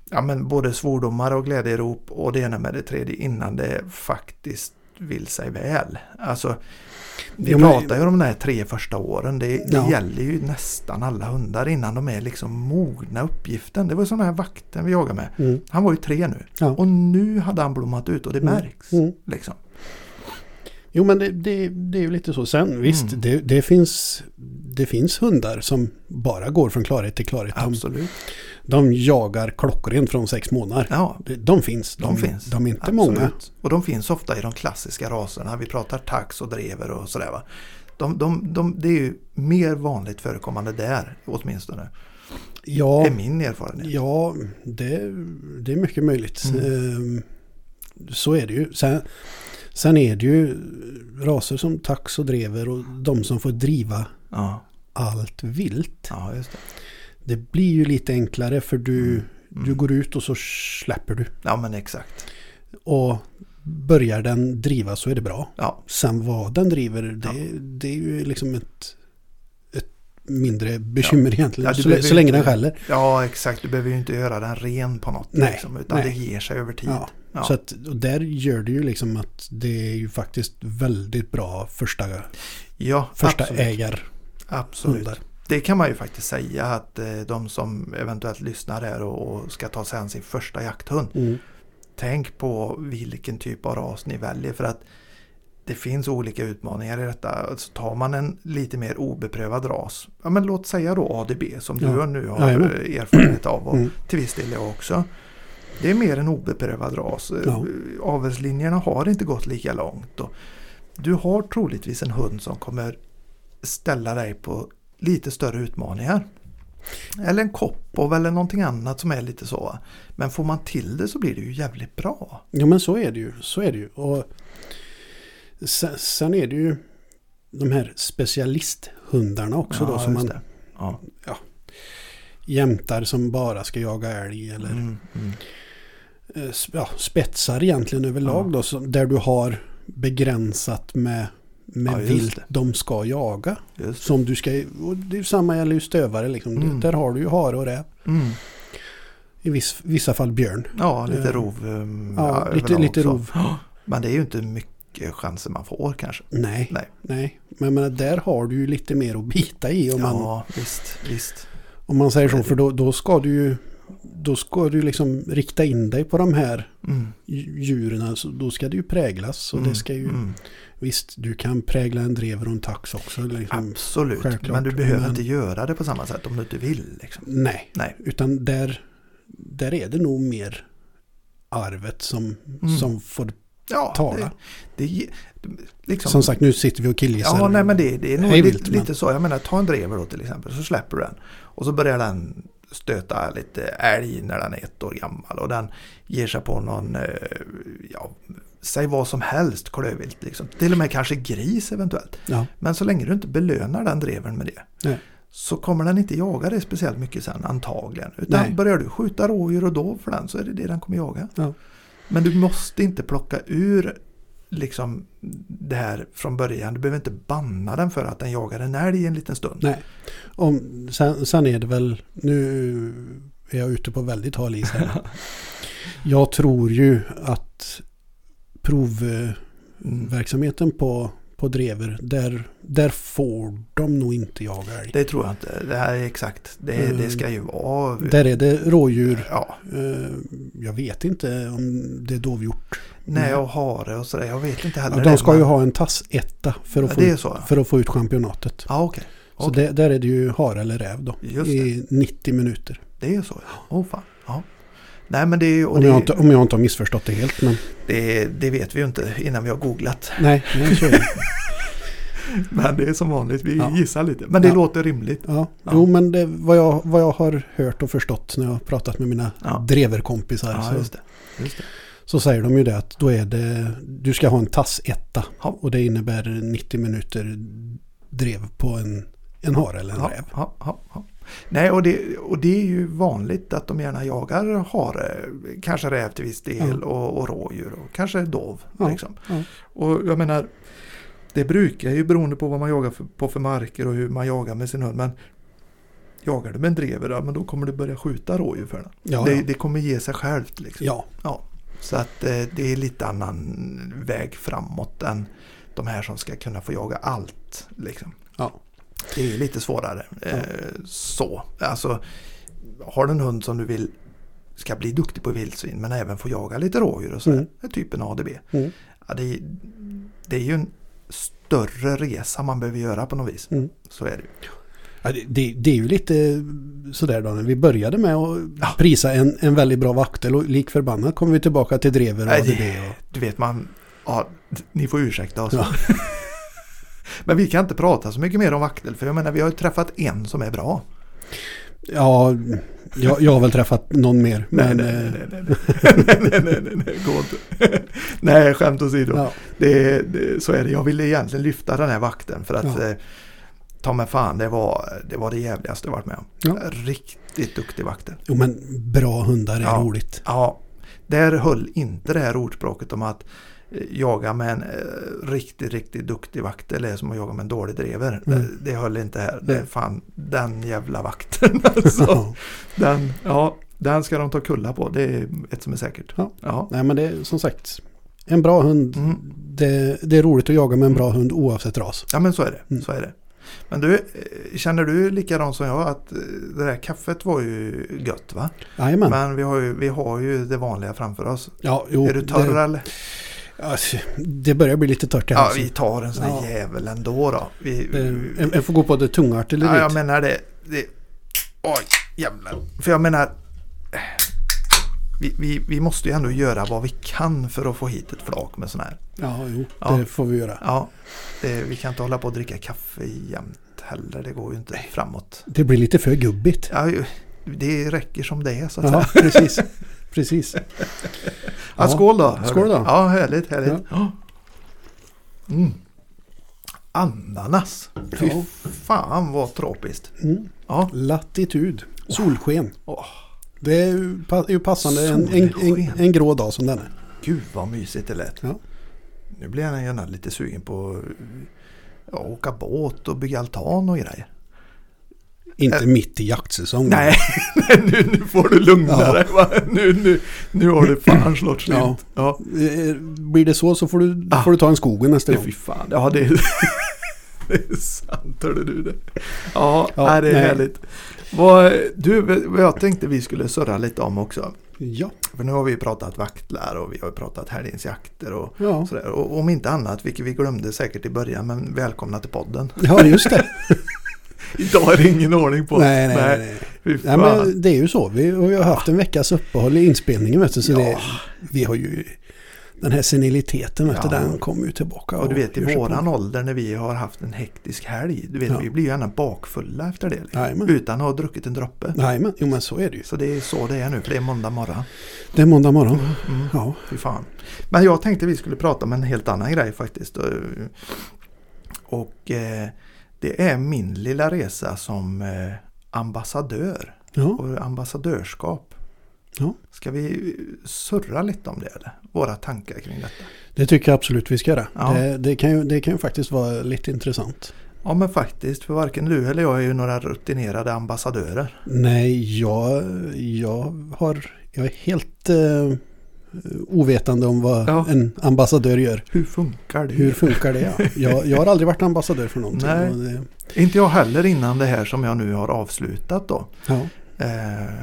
S2: ja, men både svordomar och glädjerop och det ena med det tredje innan det faktiskt vill sig väl. Alltså, vi
S1: Jo, men-
S2: pratar ju om de här tre första åren. Det, det
S1: Ja.
S2: gäller ju nästan alla hundar innan de är liksom mogna uppgiften. Det var som den här vakten vi jagade med.
S1: mm.
S2: Han var ju tre nu.
S1: Ja.
S2: Och nu hade han blommat ut och det
S1: Mm.
S2: märks.
S1: Mm.
S2: Liksom.
S1: Jo men det, det, det är ju lite så. Sen visst,
S2: Mm.
S1: det, det, finns, det finns hundar som bara går från klarhet till klarhet. De,
S2: Absolut.
S1: de jagar klockrent från sex månader.
S2: Ja,
S1: De, de finns, de,
S2: de, finns.
S1: Mm. De är inte
S2: Absolut.
S1: många.
S2: Och de finns ofta i de klassiska raserna. Vi pratar tax och drever och sådär va. De, de, de, det är ju mer vanligt förekommande där åtminstone.
S1: Ja,
S2: Det är min erfarenhet.
S1: ja det, det är mycket möjligt.
S2: Mm.
S1: Ehm, Så är det ju. Sen, sen är det ju raser som tax och drever och de som får driva
S2: Ja,
S1: allt vilt.
S2: ja just det.
S1: Det blir ju lite enklare för du,
S2: Mm.
S1: du går ut och så släpper du.
S2: Ja men exakt.
S1: Och börjar den driva så är det bra.
S2: Ja,
S1: Sen vad den driver, det,
S2: Ja.
S1: det är ju liksom ett, ett mindre bekymmer egentligen.
S2: Ja, du
S1: så,
S2: behöver
S1: så länge
S2: inte-
S1: den skäller.
S2: Ja, exakt. Du behöver ju inte göra den ren på något.
S1: Nej,
S2: liksom, utan
S1: nej.
S2: det ger sig över tid.
S1: Ja.
S2: Ja.
S1: Så att, och där gör det ju liksom att det är ju faktiskt väldigt bra första,
S2: Ja,
S1: första
S2: absolut.
S1: ägarhundar.
S2: absolut. Det kan man ju faktiskt säga att eh, de som eventuellt lyssnar där och och ska ta sig an sin första jakthund.
S1: Mm.
S2: Tänk på vilken typ av ras ni väljer för att det finns olika utmaningar i detta. Alltså tar man en lite mer obeprövad ras, ja, men låt säga då ADB som du
S1: Ja.
S2: har nu har
S1: Jajamän.
S2: eh, erfarenhet av och
S1: Mm.
S2: till viss del jag också. Det är mer en obeprövad ras. Eh,
S1: Ja.
S2: Avelslinjerna har inte gått lika långt. Och du har troligtvis en hund som kommer ställa dig på lite större utmaningar. Eller en koppov eller någonting annat som är lite så. va. Men får man till det så blir det ju jävligt bra.
S1: Ja men så är det ju. Så är det ju. Och sen, sen är det ju de här specialisthundarna också då
S2: Ja,
S1: som
S2: just
S1: man
S2: det. Ja.
S1: jämtar som bara ska jaga älg eller
S2: Mm, mm.
S1: eh, s- ja, spetsar egentligen överlag
S2: Ja.
S1: då. Som, där du har begränsat med, med
S2: Ja, just
S1: vilt
S2: det.
S1: de ska jaga.
S2: Just
S1: Som du ska, och det är ju samma gäller ju stövare liksom.
S2: Mm.
S1: Där har du ju hare och räv.
S2: det. Mm.
S1: I viss, vissa fall björn.
S2: Ja, lite
S1: Eh,
S2: rov. um,
S1: ja, lite-
S2: överlag
S1: lite
S2: så. (gasps)
S1: rov.
S2: Ja, Men det är ju inte mycket chanser man får kanske.
S1: Nej.
S2: Nej.
S1: Nej. Men jag menar, där har du ju lite mer att bita i om, man,
S2: Ja, visst, visst.
S1: om man säger
S2: Det
S1: så.
S2: är
S1: För då, då ska du ju då ska du liksom rikta in dig på de här
S2: Mm,
S1: dj- djuren. Alltså, då ska det ju präglas. Och
S2: mm,
S1: det ska ju,
S2: mm.
S1: Visst, du kan prägla en drever och en tax också. Liksom.
S2: Absolut,
S1: självklart,
S2: men du behöver
S1: men-
S2: inte göra det på samma sätt om du inte vill. Liksom.
S1: Nej.
S2: Nej.
S1: Utan där, där är det nog mer arvet som,
S2: Mm.
S1: som får
S2: Ja,
S1: tala.
S2: Det, det, liksom,
S1: Som sagt, nu sitter vi och killgissar.
S2: Ja, nej men det, det är nog
S1: Hej
S2: li,
S1: vilt, men-
S2: lite så. Jag menar, ta en drever då till exempel, så släpper du den. Och så börjar den stöta lite älg när den är ett år gammal. Och den ger sig på någon, eh, ja, säg vad som helst klövvilt. Liksom. Till och med kanske gris eventuellt.
S1: Ja.
S2: Men så länge du inte belönar den dreven med det
S1: Nej.
S2: så kommer den inte jaga dig speciellt mycket sen antagligen. Utan
S1: Nej.
S2: börjar du skjuta rådjur och då för den så är det det den kommer jaga.
S1: Ja.
S2: Men du måste inte plocka ur liksom det här från början. Du behöver inte banna den för att den jagar en älg en liten stund.
S1: Nej. Om, sen, sen är det väl, nu är jag ute på väldigt hal is här.
S2: (laughs)
S1: jag tror ju att provverksamheten
S2: Mm.
S1: på, på drever, där, där får de nog inte jaga älg.
S2: Det tror jag inte. Det här är exakt. Det,
S1: Mm.
S2: det ska ju vara...
S1: Där är det rådjur.
S2: Ja,
S1: Eh, Jag vet inte om det är dovhjort.
S2: nej
S1: Mm.
S2: och hare och sådär. Jag vet inte heller.
S1: Ja,
S2: det,
S1: de ska ju
S2: men-
S1: ha en tassetta för att,
S2: Ja,
S1: få,
S2: det är
S1: ut,
S2: så.
S1: för att få ut championatet.
S2: Ja, okej.
S1: Så
S2: Okej.
S1: det, där är det ju hare eller räv då.
S2: Just
S1: I 90 minuter.
S2: Det är så. ja. Åh fan. Ja. Nej men det är ju... och
S1: Om
S2: det-
S1: jag, inte, om jag inte har missförstått det helt. Men,
S2: Det, det vet vi ju inte innan vi har googlat.
S1: nej, nej, så är det.
S2: Men det är som vanligt, vi
S1: Ja.
S2: gissar lite. Men det
S1: Ja.
S2: låter rimligt.
S1: Ja.
S2: Ja.
S1: Jo, men det, vad, jag, vad jag har hört och förstått när jag har pratat med mina
S2: Ja.
S1: dreverkompisar
S2: Ja,
S1: så,
S2: just det. Just det.
S1: så säger de ju det att då är det, du ska ha en tassetta.
S2: Ja.
S1: Och det innebär 90 minuter drev på en, en hare eller en
S2: Ja,
S1: räv.
S2: ja, ja, ja. Nej, och det, och det är ju vanligt att de gärna jagar hare, kanske räv till viss del och, och rådjur och kanske dov.
S1: Ja,
S2: Liksom.
S1: ja.
S2: Och jag menar, det brukar ju beroende på vad man jagar för, på för marker och hur man jagar med sin hund. Men jagar du med en drever, ja, men då kommer du börja skjuta rådjur för den.
S1: Ja,
S2: det,
S1: ja.
S2: det kommer ge sig självt. Liksom.
S1: ja.
S2: Ja, så att eh, det är lite annan väg framåt än de här som ska kunna få jaga allt. Liksom.
S1: Ja.
S2: Det är lite svårare. Eh, så. Alltså, har du en hund som du vill ska bli duktig på vildsvin men även få jaga lite rådjur och sådär.
S1: Mm.
S2: Det är Typ en ADB.
S1: Mm.
S2: Ja, det, är, det är ju en större resa man behöver göra på något vis.
S1: Mm.
S2: Så är det ju.
S1: Ja, det- det, det är ju lite sådär då. när Vi började med att
S2: Ja.
S1: prisa en, en väldigt bra vaktel och lik förbannat kommer vi tillbaka till drever och
S2: Nej, det-
S1: ADB. Och,
S2: Du vet man, ja, ni får ursäkta oss.
S1: Ja.
S2: (laughs) men vi kan inte prata så mycket mer om vaktel för jag menar vi har ju träffat en som är bra.
S1: ja, jag, jag har väl träffat någon mer.
S2: Nej,
S1: men,
S2: nej,
S1: eh,
S2: nej, nej, (laughs) nej, nej, nej, nej, nej, gå inte. (laughs) nej, skämt åsido.
S1: Ja,
S2: Det, det, så är det. Jag ville egentligen lyfta den här vakten för att
S1: Ja.
S2: eh, ta mig fan, det var det, var det jävligaste jag varit med om.
S1: Ja.
S2: Riktigt duktig vakten.
S1: jo, men bra hundar är
S2: Ja.
S1: roligt.
S2: Ja, där höll inte det här ordspråket om att jaga med en eh, riktigt, riktigt duktig vakt eller som att jaga med en dålig drever.
S1: Mm.
S2: Det, det höll inte här.
S1: Nej.
S2: Det är fan den jävla vakten (laughs) alltså.
S1: Ja.
S2: den, ja, den ska de ta kulla på. Det är ett som är säkert.
S1: Ja.
S2: Ja.
S1: Nej men det är som sagt. En bra hund.
S2: Mm.
S1: Det, det är roligt att jaga med en bra hund oavsett ras.
S2: ja, men så är det.
S1: Mm.
S2: Så är det. Men du, eh, känner du likadant som jag att eh, det där kaffet var ju gött va?
S1: Jajamän.
S2: Men vi har ju, vi har ju det vanliga framför oss.
S1: Ja, jo,
S2: är du torr
S1: Det,
S2: eller?
S1: alltså, det börjar bli lite torrt i
S2: Ja,
S1: halsen.
S2: vi tar en sån här
S1: Ja.
S2: jävel ändå då. Vi,
S1: Eh, En, en får gå på det tunga artilleriet.
S2: Ja, jag menar det. det oj, jävlar. För jag menar, eh, vi, vi, vi måste ju ändå göra vad vi kan för att få hit ett flak med sån här.
S1: Ja, jo,
S2: Ja.
S1: det får vi göra.
S2: Ja, det, vi kan inte hålla på och dricka kaffe jämt heller. Det går ju inte framåt.
S1: Det blir lite för gubbigt.
S2: Ja, ju- det räcker som det är så att säga. (laughs)
S1: Ja, precis. precis.
S2: Ja, skål då! hörru.
S1: Skål då.
S2: Ja, härligt, härligt. Ja. Mm. Ananas! Fy
S1: Ja.
S2: fan vad tropiskt.
S1: Mm.
S2: Ja.
S1: Latitud, solsken.
S2: Åh.
S1: Det är ju pa- är ju passande en, en, en,
S2: Solsken.
S1: en grå dag som denna.
S2: Gud vad mysigt det lät.
S1: Ja.
S2: Nu blir jag gärna lite sugen på att ja, åka båt och bygga altan och grejer.
S1: Inte
S2: Ä-
S1: mitt i jaktsäsongen.
S2: Nej, (laughs) nej, nu, nu får du lugna
S1: Mm. Ja.
S2: dig. Va? Nu, nu, nu har du
S1: (clears throat)
S2: fan slått slint.
S1: Ja.
S2: Ja. Ja.
S1: Eh, Blir det så så får du,
S2: Ah.
S1: får du ta en skogen nästa
S2: Det,
S1: gång.
S2: fy fan, ja det är, (laughs) det är sant hörde du det. Ja,
S1: Ja,
S2: nej, det är
S1: nej.
S2: härligt. Vad, du, vad jag tänkte vi skulle surra lite om också.
S1: Ja,
S2: För nu har vi pratat vaktlar och vi har pratat helgens jakter och
S1: ja.
S2: sådär. Och om inte annat, vilket vi glömde säkert i början, men välkomna till podden. (laughs)
S1: ja just det.
S2: Idag är det ingen ordning på.
S1: nej, nej, nej. nej.
S2: Fy
S1: Nej,
S2: fan.
S1: men det är ju så. Vi har ju haft en veckas uppehåll i inspelningen. Vet du, så
S2: Ja.
S1: det, vi har ju den här seniliteten, vet du,
S2: Ja.
S1: den kommer ju tillbaka.
S2: och du vet
S1: gör
S2: i
S1: sig på.
S2: våran ålder när vi har haft en hektisk helg. Du vet
S1: Ja.
S2: vi blir ju gärna bakfulla efter det. Liksom,
S1: Jajamän.
S2: utan att ha druckit en droppe.
S1: Nej, men, jo, men så är det ju.
S2: Så det är så det är nu för det är måndag morgon.
S1: Det är måndag morgon.
S2: Mm,
S1: Ja,
S2: fy fan. Men jag tänkte vi skulle prata om en helt annan grej faktiskt. Eh, Och eh, det är min lilla resa som eh, ambassadör
S1: ja.
S2: och ambassadörskap.
S1: Ja.
S2: Ska vi surra lite om det eller? Våra tankar kring detta.
S1: det tycker jag absolut vi ska göra.
S2: Ja.
S1: Det, det, kan ju, det kan ju faktiskt vara lite intressant.
S2: Ja men faktiskt, för varken du eller jag är ju några rutinerade ambassadörer.
S1: Nej, jag, jag, har, jag är helt eh, ovetande om vad
S2: Ja.
S1: en ambassadör gör.
S2: Hur funkar det?
S1: Hur funkar det? Ja? Jag, jag har aldrig varit ambassadör för någonting.
S2: Nej.
S1: och Det,
S2: Inte jag heller innan det här som jag nu har avslutat då.
S1: ja.
S2: Eh,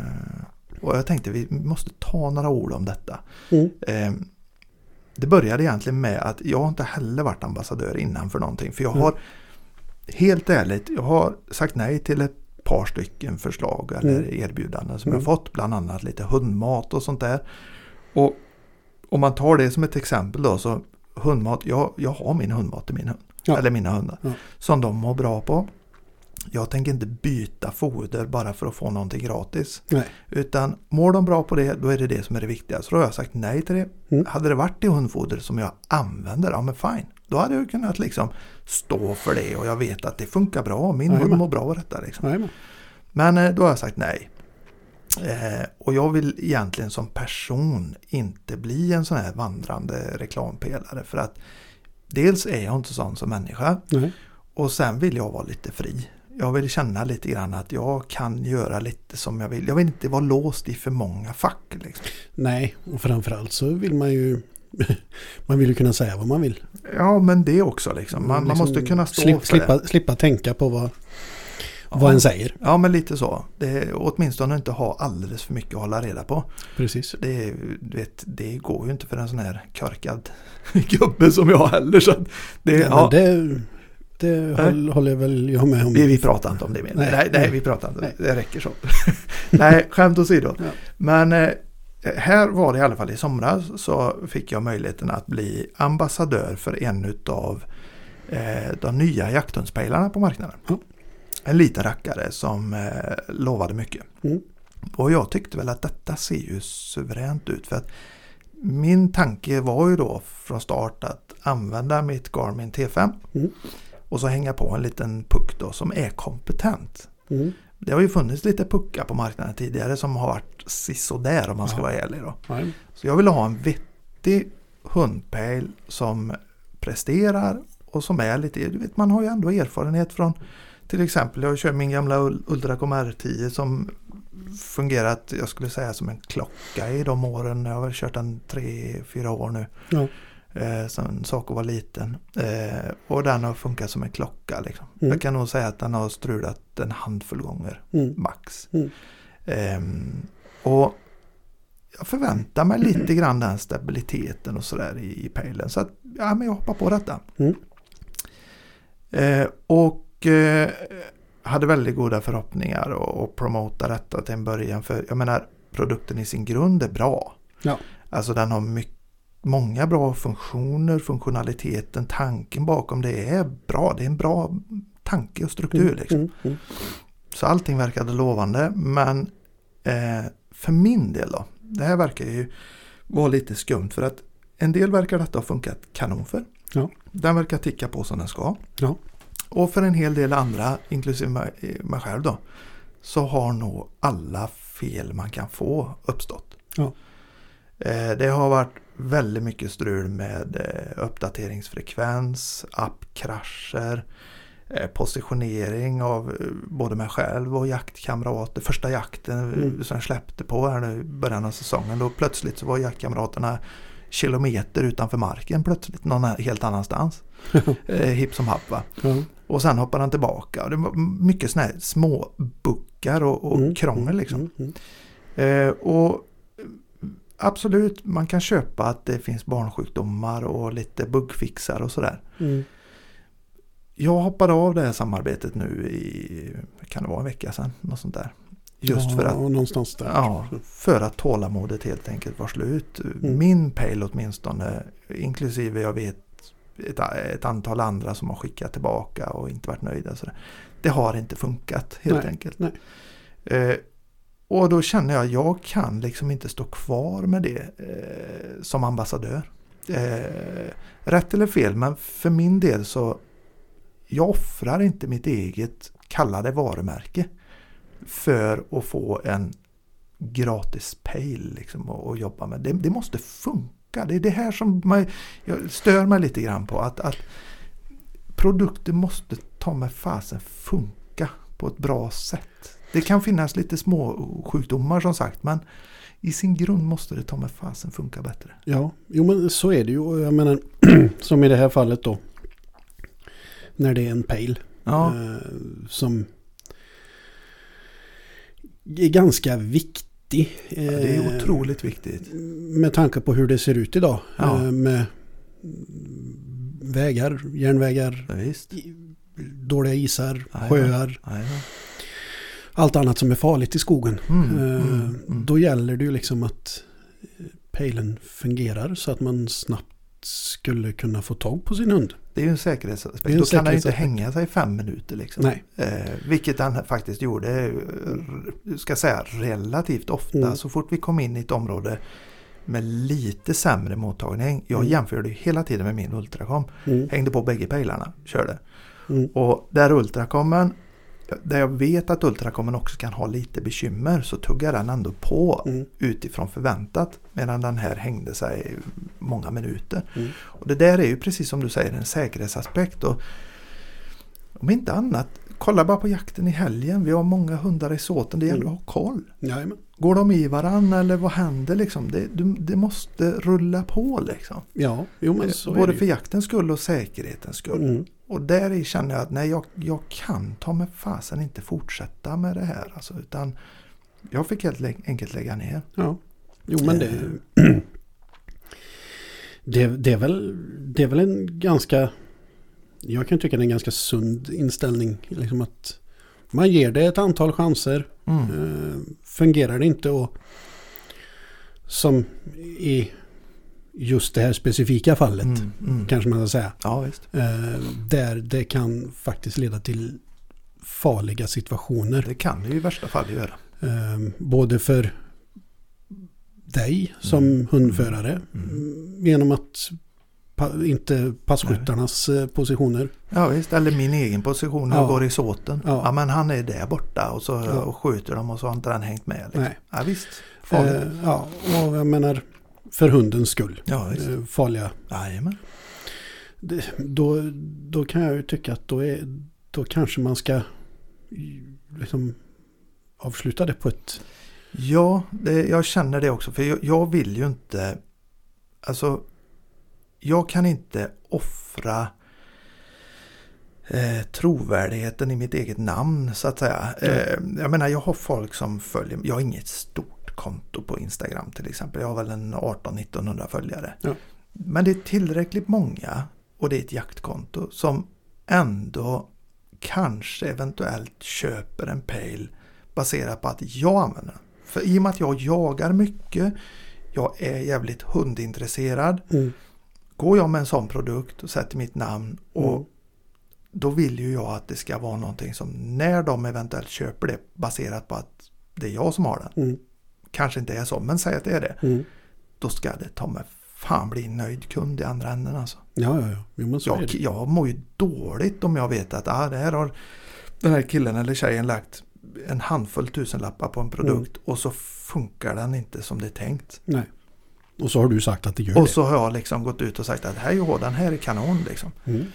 S2: och jag tänkte vi måste ta några ord om detta.
S1: mm.
S2: Eh, det började egentligen med att jag har inte heller varit ambassadör innan för någonting. För jag
S1: Mm.
S2: har, helt ärligt, jag har sagt nej till ett par stycken förslag eller
S1: Mm.
S2: erbjudanden som
S1: Mm.
S2: jag fått. Bland annat lite hundmat och sånt där. Och om man tar det som ett exempel då så hundmat, jag, jag har min hundmat till min hund.
S1: Ja.
S2: Eller mina hundar.
S1: Ja.
S2: Som de mår bra på. Jag tänker inte byta foder bara för att få någonting gratis.
S1: Nej.
S2: Utan mår de bra på det, då är det det som är det viktiga. Så då har jag sagt nej till det.
S1: Mm.
S2: Hade det varit det hundfoder som jag använder, ja men fine. Då hade jag kunnat liksom stå för det och jag vet att det funkar bra. Min
S1: Jajamän.
S2: hund mår bra av detta. Liksom.
S1: Jajamän.
S2: Men eh, då har jag sagt nej. Eh, och jag vill egentligen som person inte bli en sån här vandrande reklampelare. För att dels är jag inte sån som människa
S1: Nej.
S2: och sen vill jag vara lite fri. Jag vill känna lite grann att jag kan göra lite som jag vill. Jag vill inte vara låst i för många fack. Liksom.
S1: Nej, och framförallt så vill man ju (laughs) man vill ju kunna säga vad man vill.
S2: Ja men det också liksom. Man, man
S1: Liksom
S2: måste kunna stå
S1: slip,
S2: för det.
S1: slippa, slippa tänka på vad,
S2: Ja.
S1: vad en säger.
S2: Ja men lite så. Det är, åtminstone inte ha alldeles för mycket att hålla reda på.
S1: Precis.
S2: Så det, är ju- du vet, det går ju inte för en sån här körkad (laughs) gubbe som jag heller. Så att det,
S1: Ja,
S2: Eh, ja,
S1: men det det håll, håller jag väl jag med om.
S2: vi, vi pratar inte om det mer.
S1: Nej.
S2: Nej, nej,
S1: Nej.
S2: vi pratar inte.
S1: Nej.
S2: Det räcker så. (laughs) nej, skämt åsido.
S1: Ja.
S2: Men eh, här var det i alla fall i somras så fick jag möjligheten att bli ambassadör för en av eh, de nya jakthundspejlarna på marknaden.
S1: Ja.
S2: En liten rackare som eh, lovade mycket.
S1: Mm.
S2: Och jag tyckte väl att detta ser ju suveränt ut. för att Min tanke var ju då från start att använda mitt Garmin T5
S1: Mm.
S2: och så hänga på en liten puck då som är kompetent.
S1: Mm.
S2: Det har ju funnits lite puckar på marknaden tidigare som har varit sisådär om man ska
S1: Ja.
S2: vara ärlig. Då.
S1: Nej.
S2: Så jag ville ha en vettig hundpejl som presterar och som är lite, du vet man har ju ändå erfarenhet från till exempel jag kör min gamla Ul- Ultracom R10 som fungerat, jag skulle säga som en klocka i de åren. Jag har väl kört den tre, fyra år nu.
S1: Ja.
S2: Eh, sen Saco var liten. Eh, och den har funkat som en klocka. Liksom.
S1: Mm.
S2: Jag kan nog säga att den har strulat en handfull gånger
S1: Mm.
S2: max.
S1: Mm.
S2: Ehm, och jag förväntar mig lite grann den stabiliteten och sådär i, i pejlen. Så att ja, men jag hoppar på detta.
S1: Mm.
S2: Eh, och eh, hade väldigt goda förhoppningar och, och promota detta till en början. För jag menar produkten i sin grund är bra.
S1: Ja.
S2: Alltså den har mycket Många bra funktioner, funktionaliteten, tanken bakom det är bra. Det är en bra tanke och struktur.
S1: Mm.
S2: Liksom.
S1: Mm. Mm.
S2: Så allting verkade lovande men eh, för min del då. Det här verkar ju vara lite skumt för att en del verkar detta ha funkat kanon för.
S1: Ja.
S2: Den verkar ticka på som den ska.
S1: Ja.
S2: Och för en hel del andra, inklusive mig- eh, mig själv då, så har nog alla fel man kan få uppstått.
S1: Ja.
S2: Eh, det har varit väldigt mycket strul med eh, uppdateringsfrekvens, appkrascher, eh, positionering av eh, både mig själv och jaktkamrater. Första jakten
S1: Mm.
S2: mm. som jag släppte på här nu i början av säsongen då plötsligt så var jaktkamraterna kilometer utanför marken plötsligt någon här- helt
S1: (laughs)
S2: annanstans. eh, hipp som happ va.
S1: Ja.
S2: Och sen hoppade han tillbaka. Och det var mycket sådana här små buckar och, och
S1: Mm.
S2: krångel liksom.
S1: Mm. Mm.
S2: Eh, och mm, Absolut, man kan köpa att det finns barnsjukdomar och lite buggfixar och sådär.
S1: Mm.
S2: Jag hoppade av det här samarbetet nu i, kan det vara en vecka sedan? Något sånt där. Just för
S1: ja,
S2: att,
S1: Någonstans där.
S2: ja, för att tålamodet helt enkelt var slut. Min pejl åtminstone, inklusive jag vet ett, ett antal andra som har skickat tillbaka och inte varit nöjda. och Sådär. Det har inte funkat helt enkelt.
S1: nej.
S2: Eh, och då känner jag, jag kan liksom inte stå kvar med det eh, som ambassadör. Eh, rätt eller fel, men för min del så jag offrar inte mitt eget kallade varumärke för att få en gratis pejl liksom att, att jobba med. Det, det måste funka. Det är det här som man, jag stör mig lite grann på. Att, att produkter måste ta med fasen funka på ett bra sätt. Det kan finnas lite små sjukdomar som sagt men i sin grund måste det ta med fasen funka bättre.
S1: Ja, jo men så är det ju. Och Jag menar, (clears throat) som i det här fallet då. När det är en pejl
S2: Ja,
S1: eh, som är ganska viktig. Eh,
S2: det är otroligt viktigt.
S1: Med tanke på hur det ser ut idag.
S2: Ja.
S1: Eh, med vägar, järnvägar,
S2: Ja, visst.
S1: dåliga isar,
S2: Ja,
S1: sjöar.
S2: Ja, ja.
S1: Allt annat som är farligt i skogen.
S2: Mm,
S1: Eh,
S2: mm, mm.
S1: Då gäller det ju liksom att eh, pejlen fungerar så att man snabbt skulle kunna få tag på sin hund.
S2: Det är ju en säkerhetsaspekt.
S1: Det är en
S2: Då kan han ju inte
S1: säkerhetsaspekt.
S2: hänga sig i fem minuter. Liksom.
S1: Nej.
S2: Eh, vilket han faktiskt gjorde, eh, r- ska säga relativt ofta.
S1: Mm.
S2: Så fort vi kom in i ett område med lite sämre mottagning. Jag
S1: Mm.
S2: jämförde ju hela tiden med min Ultracom.
S1: Mm.
S2: Hängde på bägge pejlarna, körde.
S1: Mm.
S2: Och där Ultracomen, där jag vet att Ultracomen också kan ha lite bekymmer så tuggar den ändå på
S1: Mm.
S2: utifrån förväntat. Medan den här hängde sig många minuter.
S1: Mm.
S2: Och det där är ju precis som du säger en säkerhetsaspekt. Och om inte annat, kolla bara på jakten i helgen. Vi har många hundar i såten. Det gäller
S1: Mm.
S2: att ha koll.
S1: Jajamän.
S2: Går de i varann eller vad händer liksom? Det, du, det måste rulla på liksom.
S1: Ja, jo men så är det
S2: Både
S1: ju.
S2: för jaktens skull och säkerhetens skull.
S1: Mm.
S2: Och där i känner jag att nej, jag, jag kan ta mig fasen inte fortsätta med det här. Alltså, utan jag fick helt lä- enkelt lägga ner.
S1: Ja, jo men det...
S2: Eh.
S1: (clears throat) Det, det, är väl, det är väl en ganska... Jag kan tycka det är en ganska sund inställning. Liksom att man ger det ett antal chanser.
S2: Mm.
S1: Eh, fungerar det inte och... Som i just det här specifika fallet.
S2: Mm, mm.
S1: Kanske man ska säga.
S2: Ja, visst.
S1: Eh, där det kan faktiskt leda till farliga situationer.
S2: Det kan det ju i värsta fall göra.
S1: Eh, både för dig som
S2: Mm.
S1: hundförare
S2: Mm.
S1: genom att pa- inte passkyttarnas eh, positioner.
S2: Ja, visst. Eller min egen position. Jag
S1: Ja.
S2: går i såten.
S1: Ja.
S2: Ja. men han är där borta och så
S1: Ja.
S2: och skjuter de och så har inte han hängt med. Liksom.
S1: Nej.
S2: Ja, visst. Farligt.
S1: Eh, ja, och jag menar för hundens skull.
S2: Ja, visst.
S1: Eh, Farliga.
S2: Jajamän.
S1: Det- Då, då kan jag ju tycka att då, är, då kanske man ska i- liksom avsluta det på ett...
S2: Ja, det, jag känner det också. För jag, jag vill ju inte... Alltså, jag kan inte offra eh, trovärdigheten i mitt eget namn så att säga. Eh, jag menar, jag har folk som följer Jag har inget stort konto på Instagram till exempel. Jag har väl en 18-1900 följare.
S1: Ja.
S2: Men det är tillräckligt många och det är ett jaktkonto som ändå kanske eventuellt köper en pejl baserat på att jag använder den. För i och med att jag jagar mycket, jag är jävligt hundintresserad. Går jag med en sån produkt och sätter mitt namn och
S1: Mm.
S2: då vill ju jag att det ska vara någonting som när de eventuellt köper det baserat på att det är jag som har den.
S1: Mm.
S2: Kanske inte är så, men säg att det är det.
S1: Mm.
S2: Då ska det ta mig fan bli en nöjd kund i andra änden alltså.
S1: Ja, ja, ja. Jo, men så är
S2: Jag,
S1: det.
S2: jag mår ju dåligt om jag vet att ah, det här har den här killen eller tjejen lagt en handfull tusenlappar på en
S1: Mm.
S2: produkt och så funkar den inte som det är tänkt.
S1: Nej. Och så har du sagt att det gör
S2: Och så har jag liksom gått ut och sagt att här är den här är kanon liksom.
S1: det. Mm.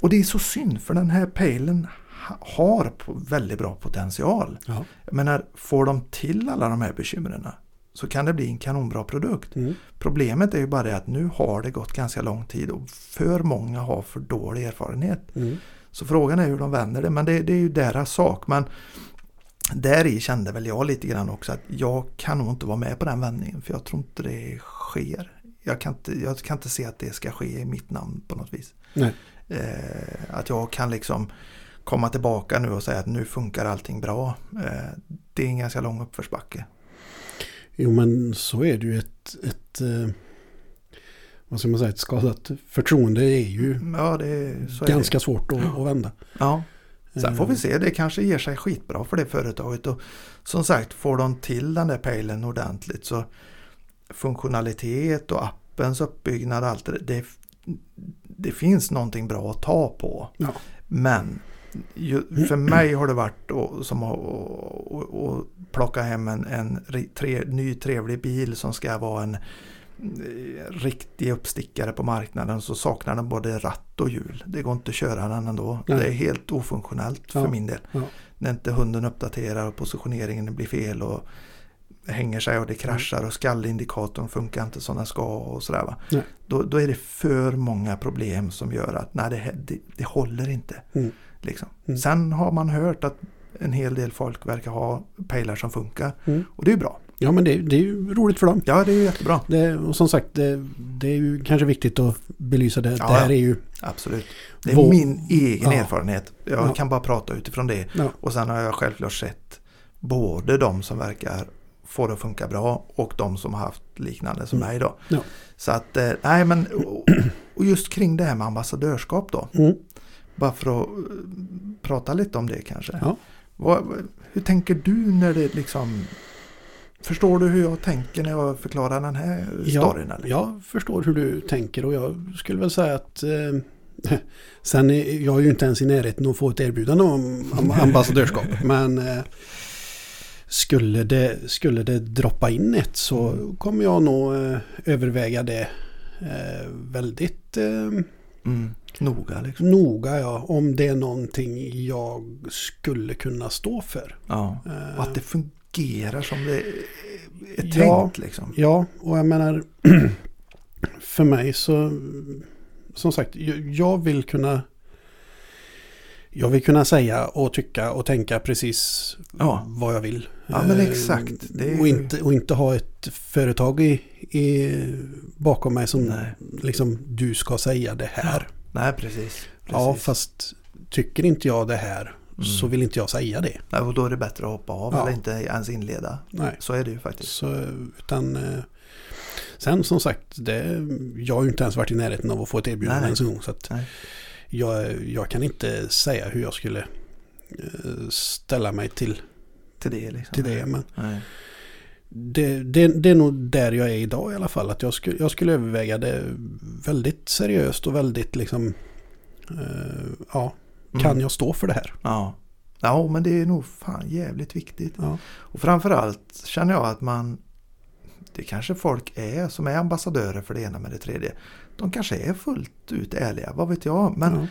S2: Och det är så synd för den här pejlen ha- har på- väldigt bra potential.
S1: Ja.
S2: Jag menar, får de till alla de här bekymren så kan det bli en kanonbra produkt.
S1: Mm.
S2: Problemet är ju bara det att nu har det gått ganska lång tid och för många har för dålig erfarenhet.
S1: Mm.
S2: Så frågan är hur de vänder det, men det, det är ju deras sak. Men där i kände väl jag lite grann också att jag kan nog inte vara med på den vändningen för jag tror inte det sker. Jag kan inte, jag kan inte se att det ska ske i mitt namn på något vis.
S1: Nej.
S2: Eh, att jag kan liksom komma tillbaka nu och säga att nu funkar allting bra. Eh, det är en ganska lång uppförsbacke.
S1: Jo, men så är det ju ett... ett eh, vad ska man säga? Ett skadat förtroende är ju
S2: Ja, det, Mm. så är
S1: Mm. ganska svårt att, att vända.
S2: det. Ja. Sen får vi
S1: Eh,
S2: se, det kanske ger sig skitbra för det företaget. Och som sagt, får de till den där pejlen ordentligt så funktionalitet och appens uppbyggnad och allt det där, det, det finns någonting bra att ta på.
S1: Ja.
S2: Men ju, för mig har det varit och, som att och, och, och plocka hem en, en ri- tre, ny trevlig bil som ska vara en eh, riktig uppstickare på marknaden så saknar den både ratt och hjul. Det går inte att köra den ändå.
S1: Nej.
S2: Det är helt ofunktionellt för
S1: Ja,
S2: min del.
S1: ja.
S2: När inte hunden uppdaterar och positioneringen blir fel och hänger sig och det kraschar och skallindikatorn funkar inte som den ska och sådär. Va?
S1: Nej.
S2: Då, då är det för många problem som gör att nej, det, här- det, det håller inte.
S1: Mm.
S2: Liksom.
S1: Mm.
S2: Sen har man hört att en hel del folk verkar ha pejlar som funkar
S1: Mm.
S2: och det är ju bra.
S1: Ja, men det, det är ju roligt för dem.
S2: Ja, det är ju jättebra.
S1: Det, och som sagt, det, det är ju kanske viktigt att belysa det.
S2: Ja,
S1: det här
S2: ja.
S1: är ju...
S2: Absolut. Det är
S1: Vår-
S2: min egen
S1: Ja.
S2: erfarenhet. Jag
S1: Ja.
S2: kan bara prata utifrån det.
S1: Ja.
S2: Och sen har jag självklart sett både de som verkar få det att funka bra och de som har haft liknande som
S1: Mm.
S2: mig då.
S1: Ja.
S2: Så att, eh, nej men, och- och just kring det här med ambassadörskap då.
S1: Mm.
S2: Bara för att eh, prata lite om det kanske.
S1: Ja.
S2: Vad, hur tänker du när det liksom... Förstår du hur jag tänker när jag förklarar den här storyn? Eller?
S1: Jag förstår hur du tänker och jag skulle väl säga att eh, (laughs) sen är jag är ju inte ens i närheten att få ett erbjudande om
S2: (laughs)
S1: am- ambassadörskap. men eh, skulle, det, skulle det droppa in ett så kommer jag nog eh, överväga det eh, väldigt eh,
S2: Mm. Noga liksom.
S1: noga ja, om det är någonting jag skulle kunna stå för.
S2: Ja.
S1: Eh,
S2: Och att det fungerar som det är tänkt
S1: Ja.
S2: liksom.
S1: Ja, och jag menar (clears throat) för mig så som sagt, jag- jag vill kunna jag vill kunna säga och tycka och tänka precis
S2: Ja.
S1: vad jag vill.
S2: Ja, men
S1: Eh,
S2: exakt. Det är
S1: och,
S2: ju-
S1: inte, och inte ha ett företag i, i, bakom mig som
S2: Nej.
S1: liksom du ska säga det här.
S2: Nej, precis. precis. Mm.
S1: Ja, fast tycker inte jag det här så vill inte jag säga det.
S2: Nej, och då är det bättre att hoppa av
S1: Ja.
S2: eller inte ens inleda.
S1: Nej.
S2: Så är det ju faktiskt.
S1: Så, utan, eh, sen som sagt, det, jag har ju inte ens varit i närheten av att få ett erbjudande
S2: Nej,
S1: ens en gång. Så att
S2: Nej.
S1: jag, jag kan inte säga hur jag skulle eh, ställa mig till,
S2: Till det liksom.
S1: till det. Men
S2: Nej.
S1: det, det, det är nog där jag är idag i alla fall. Att jag, skulle, jag skulle överväga det väldigt seriöst och väldigt liksom, eh, ja, kan
S2: Mm.
S1: jag stå för det här?
S2: Ja. Ja, men det är nog fan jävligt viktigt.
S1: Ja,
S2: Och framförallt känner jag att man Det kanske folk är som är ambassadörer för det ena med det tredje. De kanske är fullt ut ärliga, vad vet jag. Men
S1: Ja.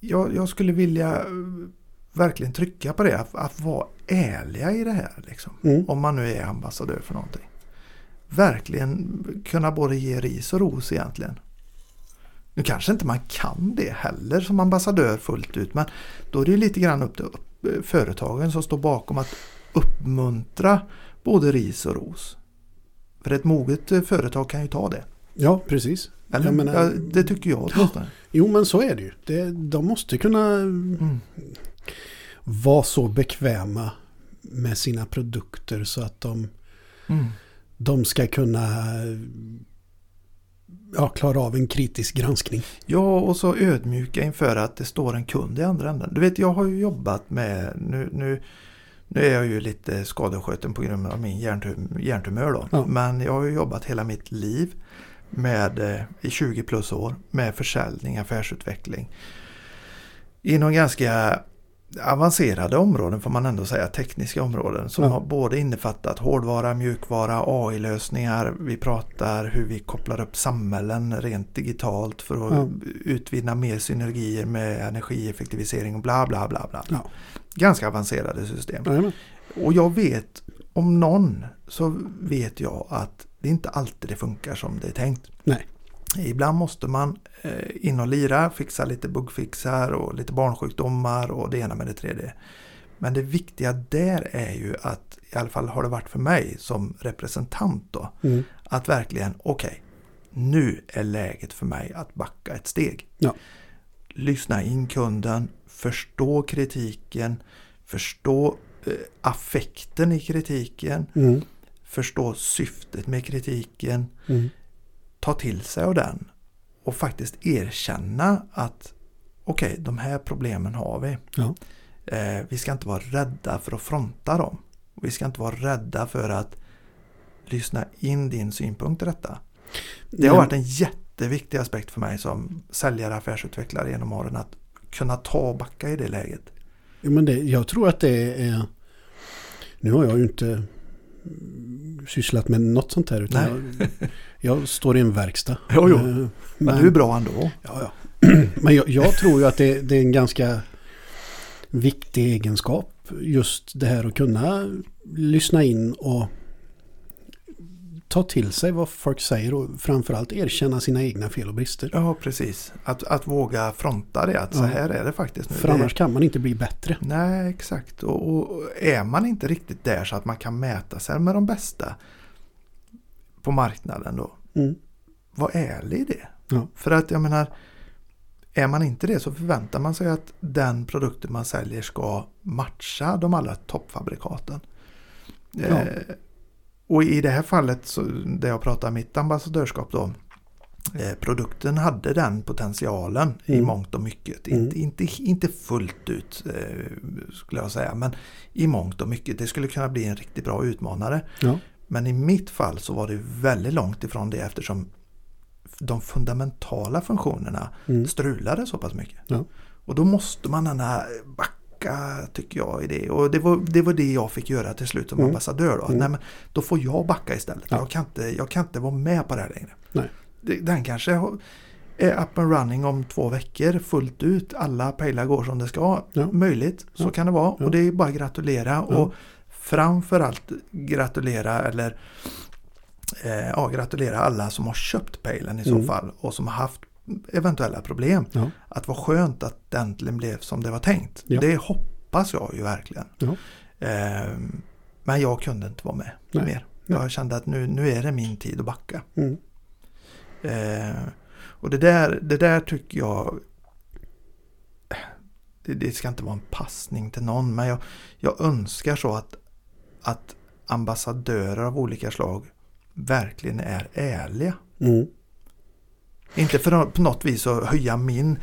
S2: jag, jag skulle vilja eh, verkligen trycka på det. Att, att vara ärliga i det här. Liksom.
S1: Mm.
S2: Om man nu är ambassadör för någonting. Verkligen kunna både ge ris och ros egentligen. Nu kanske inte man kan det heller som ambassadör fullt ut. Men då är det ju lite grann upp till upp, eh, företagen som står bakom att uppmuntra både ris och ros. För ett moget eh, företag kan ju ta det.
S1: ja, precis.
S2: Eller?
S1: Jag menar-
S2: ja, det tycker jag åtminstone.
S1: Jo, men så är det ju. Det, de måste kunna
S2: Mm.
S1: vara så bekväma med sina produkter så att de,
S2: Mm.
S1: de ska kunna ja, klara av en kritisk granskning.
S2: Ja, och så ödmjuka inför att det står en kund i andra änden. Du vet, jag har ju jobbat med... Nu, nu, nu är jag ju lite skadeskjuten på grund av min hjärntum, hjärntumör då.
S1: Ja.
S2: Men jag har ju jobbat hela mitt liv med, eh, i 20 plus år med försäljning, affärsutveckling. Inom ganska avancerade områden får man ändå säga, tekniska områden som
S1: Ja.
S2: har både innefattat hårdvara, mjukvara, AI-lösningar. Vi pratar hur vi kopplar upp samhällen rent digitalt för att
S1: Ja.
S2: utvinna mer synergier med energieffektivisering och bla bla bla. bla.
S1: Ja.
S2: Ganska avancerade system.
S1: Jajamän.
S2: Och jag vet, om någon, så vet jag att det inte alltid det funkar som det är tänkt.
S1: Nej.
S2: Ibland måste man eh, in och lira, fixa lite buggfixar och lite barnsjukdomar och det ena med det tredje. Men det viktiga där är ju att, i alla fall har det varit för mig som representant då,
S1: Mm.
S2: att verkligen, okej, nu är läget för mig att backa ett steg.
S1: Ja.
S2: Lyssna in kunden, förstå kritiken, förstå eh, affekten i kritiken,
S1: Mm.
S2: förstå syftet med kritiken,
S1: Mm.
S2: ta till sig av den och faktiskt erkänna att okej, de här problemen har vi.
S1: Ja.
S2: Eh, vi ska inte vara rädda för att fronta dem. Vi ska inte vara rädda för att lyssna in din synpunkt i detta. Det har
S1: Nej.
S2: varit en jätteviktig aspekt för mig som säljare och affärsutvecklare genom åren att kunna ta och backa i det läget.
S1: Jo, men det, jag tror att det är... Nu har jag ju inte mm, sysslat med något sånt här. Utan jag, jag står i en verkstad.
S2: (laughs) Jo, jo.
S1: Eh,
S2: Men, du är bra ändå.
S1: Ja, (clears throat) ja. men jag, jag tror ju att det, det är en ganska viktig egenskap. Just det här att kunna lyssna in och ta till sig vad folk säger och framförallt erkänna sina egna fel och brister.
S2: Ja, precis. Att, att våga fronta det, att så
S1: Ja.
S2: här är det faktiskt nu.
S1: För
S2: Det-
S1: annars kan man inte bli bättre.
S2: Nej, exakt. Och, och är man inte riktigt där så att man kan mäta sig med de bästa på marknaden då,
S1: Mm.
S2: var ärlig i det.
S1: Ja.
S2: För att jag menar, är man inte det så förväntar man sig att den produkten man säljer ska matcha de alla toppfabrikaten.
S1: Ja.
S2: Eh, och i det här fallet, så, där jag pratar om mitt ambassadörskap då, eh, produkten hade den potentialen i
S1: Mm.
S2: mångt och mycket.
S1: Mm.
S2: Inte, inte, inte fullt ut eh, skulle jag säga, men i mångt och mycket. Det skulle kunna bli en riktigt bra utmanare.
S1: Ja.
S2: Men i mitt fall så var det väldigt långt ifrån det eftersom de fundamentala funktionerna
S1: Mm.
S2: strulade så pass mycket.
S1: Ja.
S2: Och då måste man gärna backa tycker jag i det. Och det var det, var det jag fick göra till slut som
S1: Mm.
S2: ambassadör. Då. Att,
S1: Mm.
S2: Nej, men då får jag backa istället.
S1: Ja.
S2: Jag, kan inte, jag kan inte vara med på det här längre.
S1: Nej.
S2: Det- Den kanske har- är up and running om två veckor fullt ut. Alla pejlar går som det ska.
S1: Ja.
S2: Möjligt, så
S1: Ja.
S2: kan det vara.
S1: Ja.
S2: Och det är bara att gratulera.
S1: Ja.
S2: Och framförallt gratulera eller eh, ja, gratulera alla som har köpt pejlen i så
S1: Mm.
S2: fall och som har haft eventuella problem.
S1: Ja.
S2: Att vad skönt att det äntligen blev som det var tänkt.
S1: Ja.
S2: Det hoppas jag ju verkligen.
S1: Ja.
S2: Ehm, men jag kunde inte vara med
S1: Nej.
S2: mer.
S1: Nej.
S2: Jag kände att nu, nu är det min tid att backa.
S1: Mm.
S2: Eh, och det där, det där tycker jag... Det, det ska inte vara en passning till någon, men jag, jag önskar så att, att ambassadörer av olika slag verkligen är ärliga.
S1: Mm.
S2: Inte för att på något vis att höja min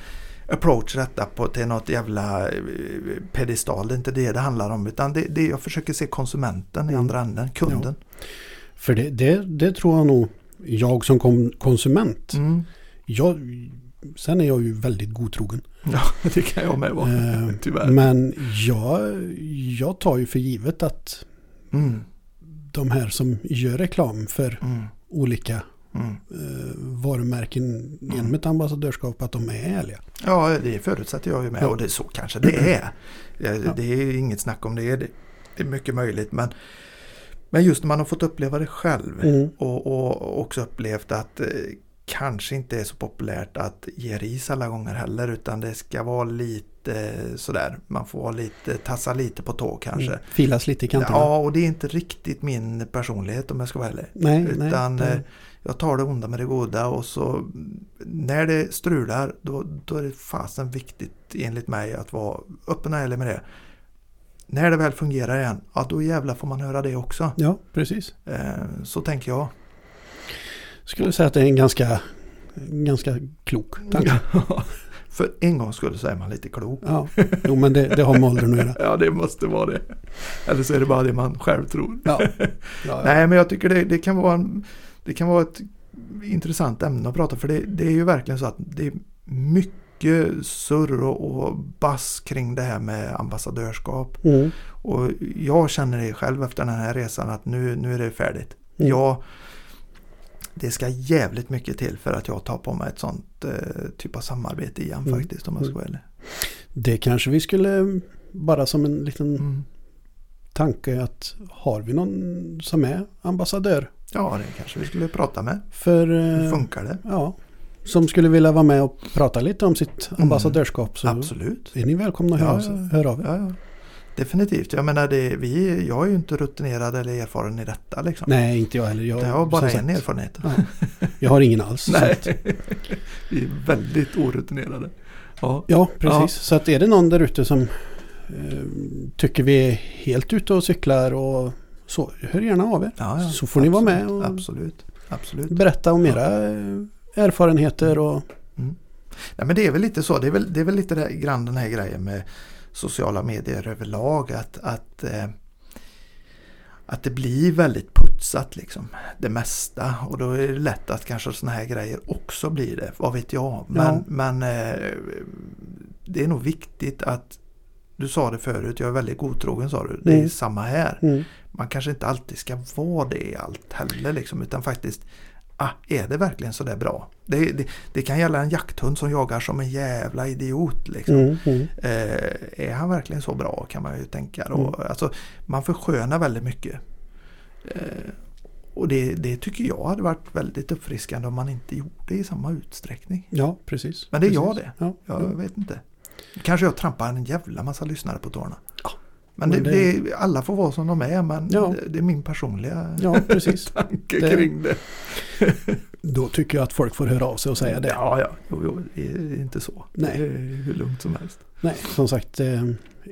S2: approach detta på, till något jävla eh, pedestal. Det är inte det det handlar om. Utan det, det jag försöker se konsumenten i
S1: Mm.
S2: andra änden, kunden.
S1: För det, det, det tror jag nog, jag som kom, konsument,
S2: Mm.
S1: jag, sen är jag ju väldigt godtrogen.
S2: (laughs) Ja, det kan jag med vara.
S1: Eh,
S2: Tyvärr.
S1: Men jag, jag tar ju för givet att
S2: Mm.
S1: de här som gör reklam för
S2: Mm.
S1: olika
S2: Mm.
S1: eh, varumärken genom
S2: Mm.
S1: ett ambassadörskap att de är ärliga.
S2: Ja, det förutsätter jag ju med.
S1: Ja.
S2: Och det, så kanske det är. Det,
S1: Ja.
S2: det är inget snack om det. Det är mycket möjligt. Men, men just när man har fått uppleva det själv.
S1: Mm.
S2: Och, och också upplevt att eh, kanske inte är så populärt att ge ris alla gånger heller. Utan det ska vara lite eh, sådär. Man får vara lite, tassa lite på tå kanske.
S1: Mm. Filas lite i kanterna.
S2: Ja, och det är inte riktigt min personlighet om jag ska vara ärlig.
S1: nej,
S2: Utan
S1: nej,
S2: eh,
S1: det,
S2: jag tar det onda med det goda och så mm, när det strular då, då är det fasen viktigt enligt mig att vara öppen och ärlig med det. När det väl fungerar igen, ja då jävlar får man höra det också.
S1: ja, precis.
S2: Eh, så tänker jag.
S1: Skulle säga att det är en ganska, en ganska klok tanke.
S2: (laughs) För en gång skulle så är man lite klok.
S1: Ja, jo, men det, det har med åldern att
S2: (laughs)
S1: göra.
S2: Ja, det måste vara det. Eller så är det bara det man själv tror.
S1: Ja. Ja, ja.
S2: Nej, men jag tycker det, det, kan vara en, det kan vara ett intressant ämne att prata för det, det är ju verkligen så att det är mycket surr och, och bass kring det här med ambassadörskap.
S1: Mm.
S2: Och jag känner det själv efter den här resan att nu, nu är det färdigt.
S1: Mm.
S2: Jag, det ska jävligt mycket till för att jag tar på mig ett sånt eh, typ av samarbete igen
S1: Mm.
S2: faktiskt om jag ska vara ärlig.
S1: Det kanske vi skulle, bara som en liten
S2: Mm.
S1: tanke att har vi någon som är ambassadör
S2: Ja, det kanske vi skulle prata med.
S1: för... eh,
S2: Hur funkar det?
S1: Ja, som skulle vilja vara med och prata lite om sitt
S2: Mm.
S1: ambassadörskap så
S2: Absolut.
S1: är ni välkomna att höra,
S2: Ja,
S1: av sig-
S2: ja.
S1: höra av er.
S2: Ja, ja. Definitivt. Jag menar, det, vi, jag är ju inte rutinerad eller erfaren i detta. Liksom.
S1: Nej, inte jag heller. Jag,
S2: jag har bara
S1: som
S2: en
S1: sagt,
S2: erfarenhet.
S1: Jag har ingen alls. Så att,
S2: vi är väldigt orutinerade. Ja.
S1: ja, precis.
S2: Ja.
S1: Så att är det någon där ute som eh, tycker vi är helt ute och cyklar och så, hör gärna av er.
S2: Ja, ja.
S1: Så får ni vara med
S2: Absolut,
S1: och-
S2: Absolut. Absolut.
S1: Berätta om era eh, erfarenheter och...
S2: Nej, men det är väl lite så. Det är väl, det är väl lite där, grann den här grejen med sociala medier överlag. Att, att, eh, att det blir väldigt putsat liksom. Det mesta. Och då är det lätt att kanske sådana här grejer också blir det. Vad vet jag. Men,
S1: Ja.
S2: men eh, det är nog viktigt att du sa det förut, jag är väldigt godtrogen sa du. Det är
S1: Mm.
S2: samma här
S1: Mm.
S2: man kanske inte alltid ska vara det i allt heller. Liksom, utan faktiskt, ah, är det verkligen så där bra? Det, det, det kan gälla en jakthund som jagar som en jävla idiot. Liksom.
S1: Mm. Mm.
S2: Eh, är han verkligen så bra kan man ju tänka. Då.
S1: Mm.
S2: Alltså, man förskönar väldigt mycket. Eh, och det, det tycker jag hade varit väldigt uppfriskande om man inte gjorde det i samma utsträckning.
S1: Ja, precis.
S2: Men det är
S1: precis.
S2: jag det.
S1: Ja.
S2: Jag
S1: ja.
S2: vet inte. Kanske jag trampar en jävla massa lyssnare på tårna.
S1: Ja.
S2: Men,
S1: Men
S2: det,
S1: det-
S2: det, alla får vara som de är men
S1: Ja.
S2: det, det är min personliga
S1: ja,
S2: (laughs)
S1: precis.
S2: tanke
S1: Det-
S2: kring det.
S1: Då tycker jag att folk får höra av sig och säga det.
S2: Ja, ja. Jo, jo, det är inte så.
S1: Nej.
S2: Det är hur lugnt som helst.
S1: Nej, som sagt, eh,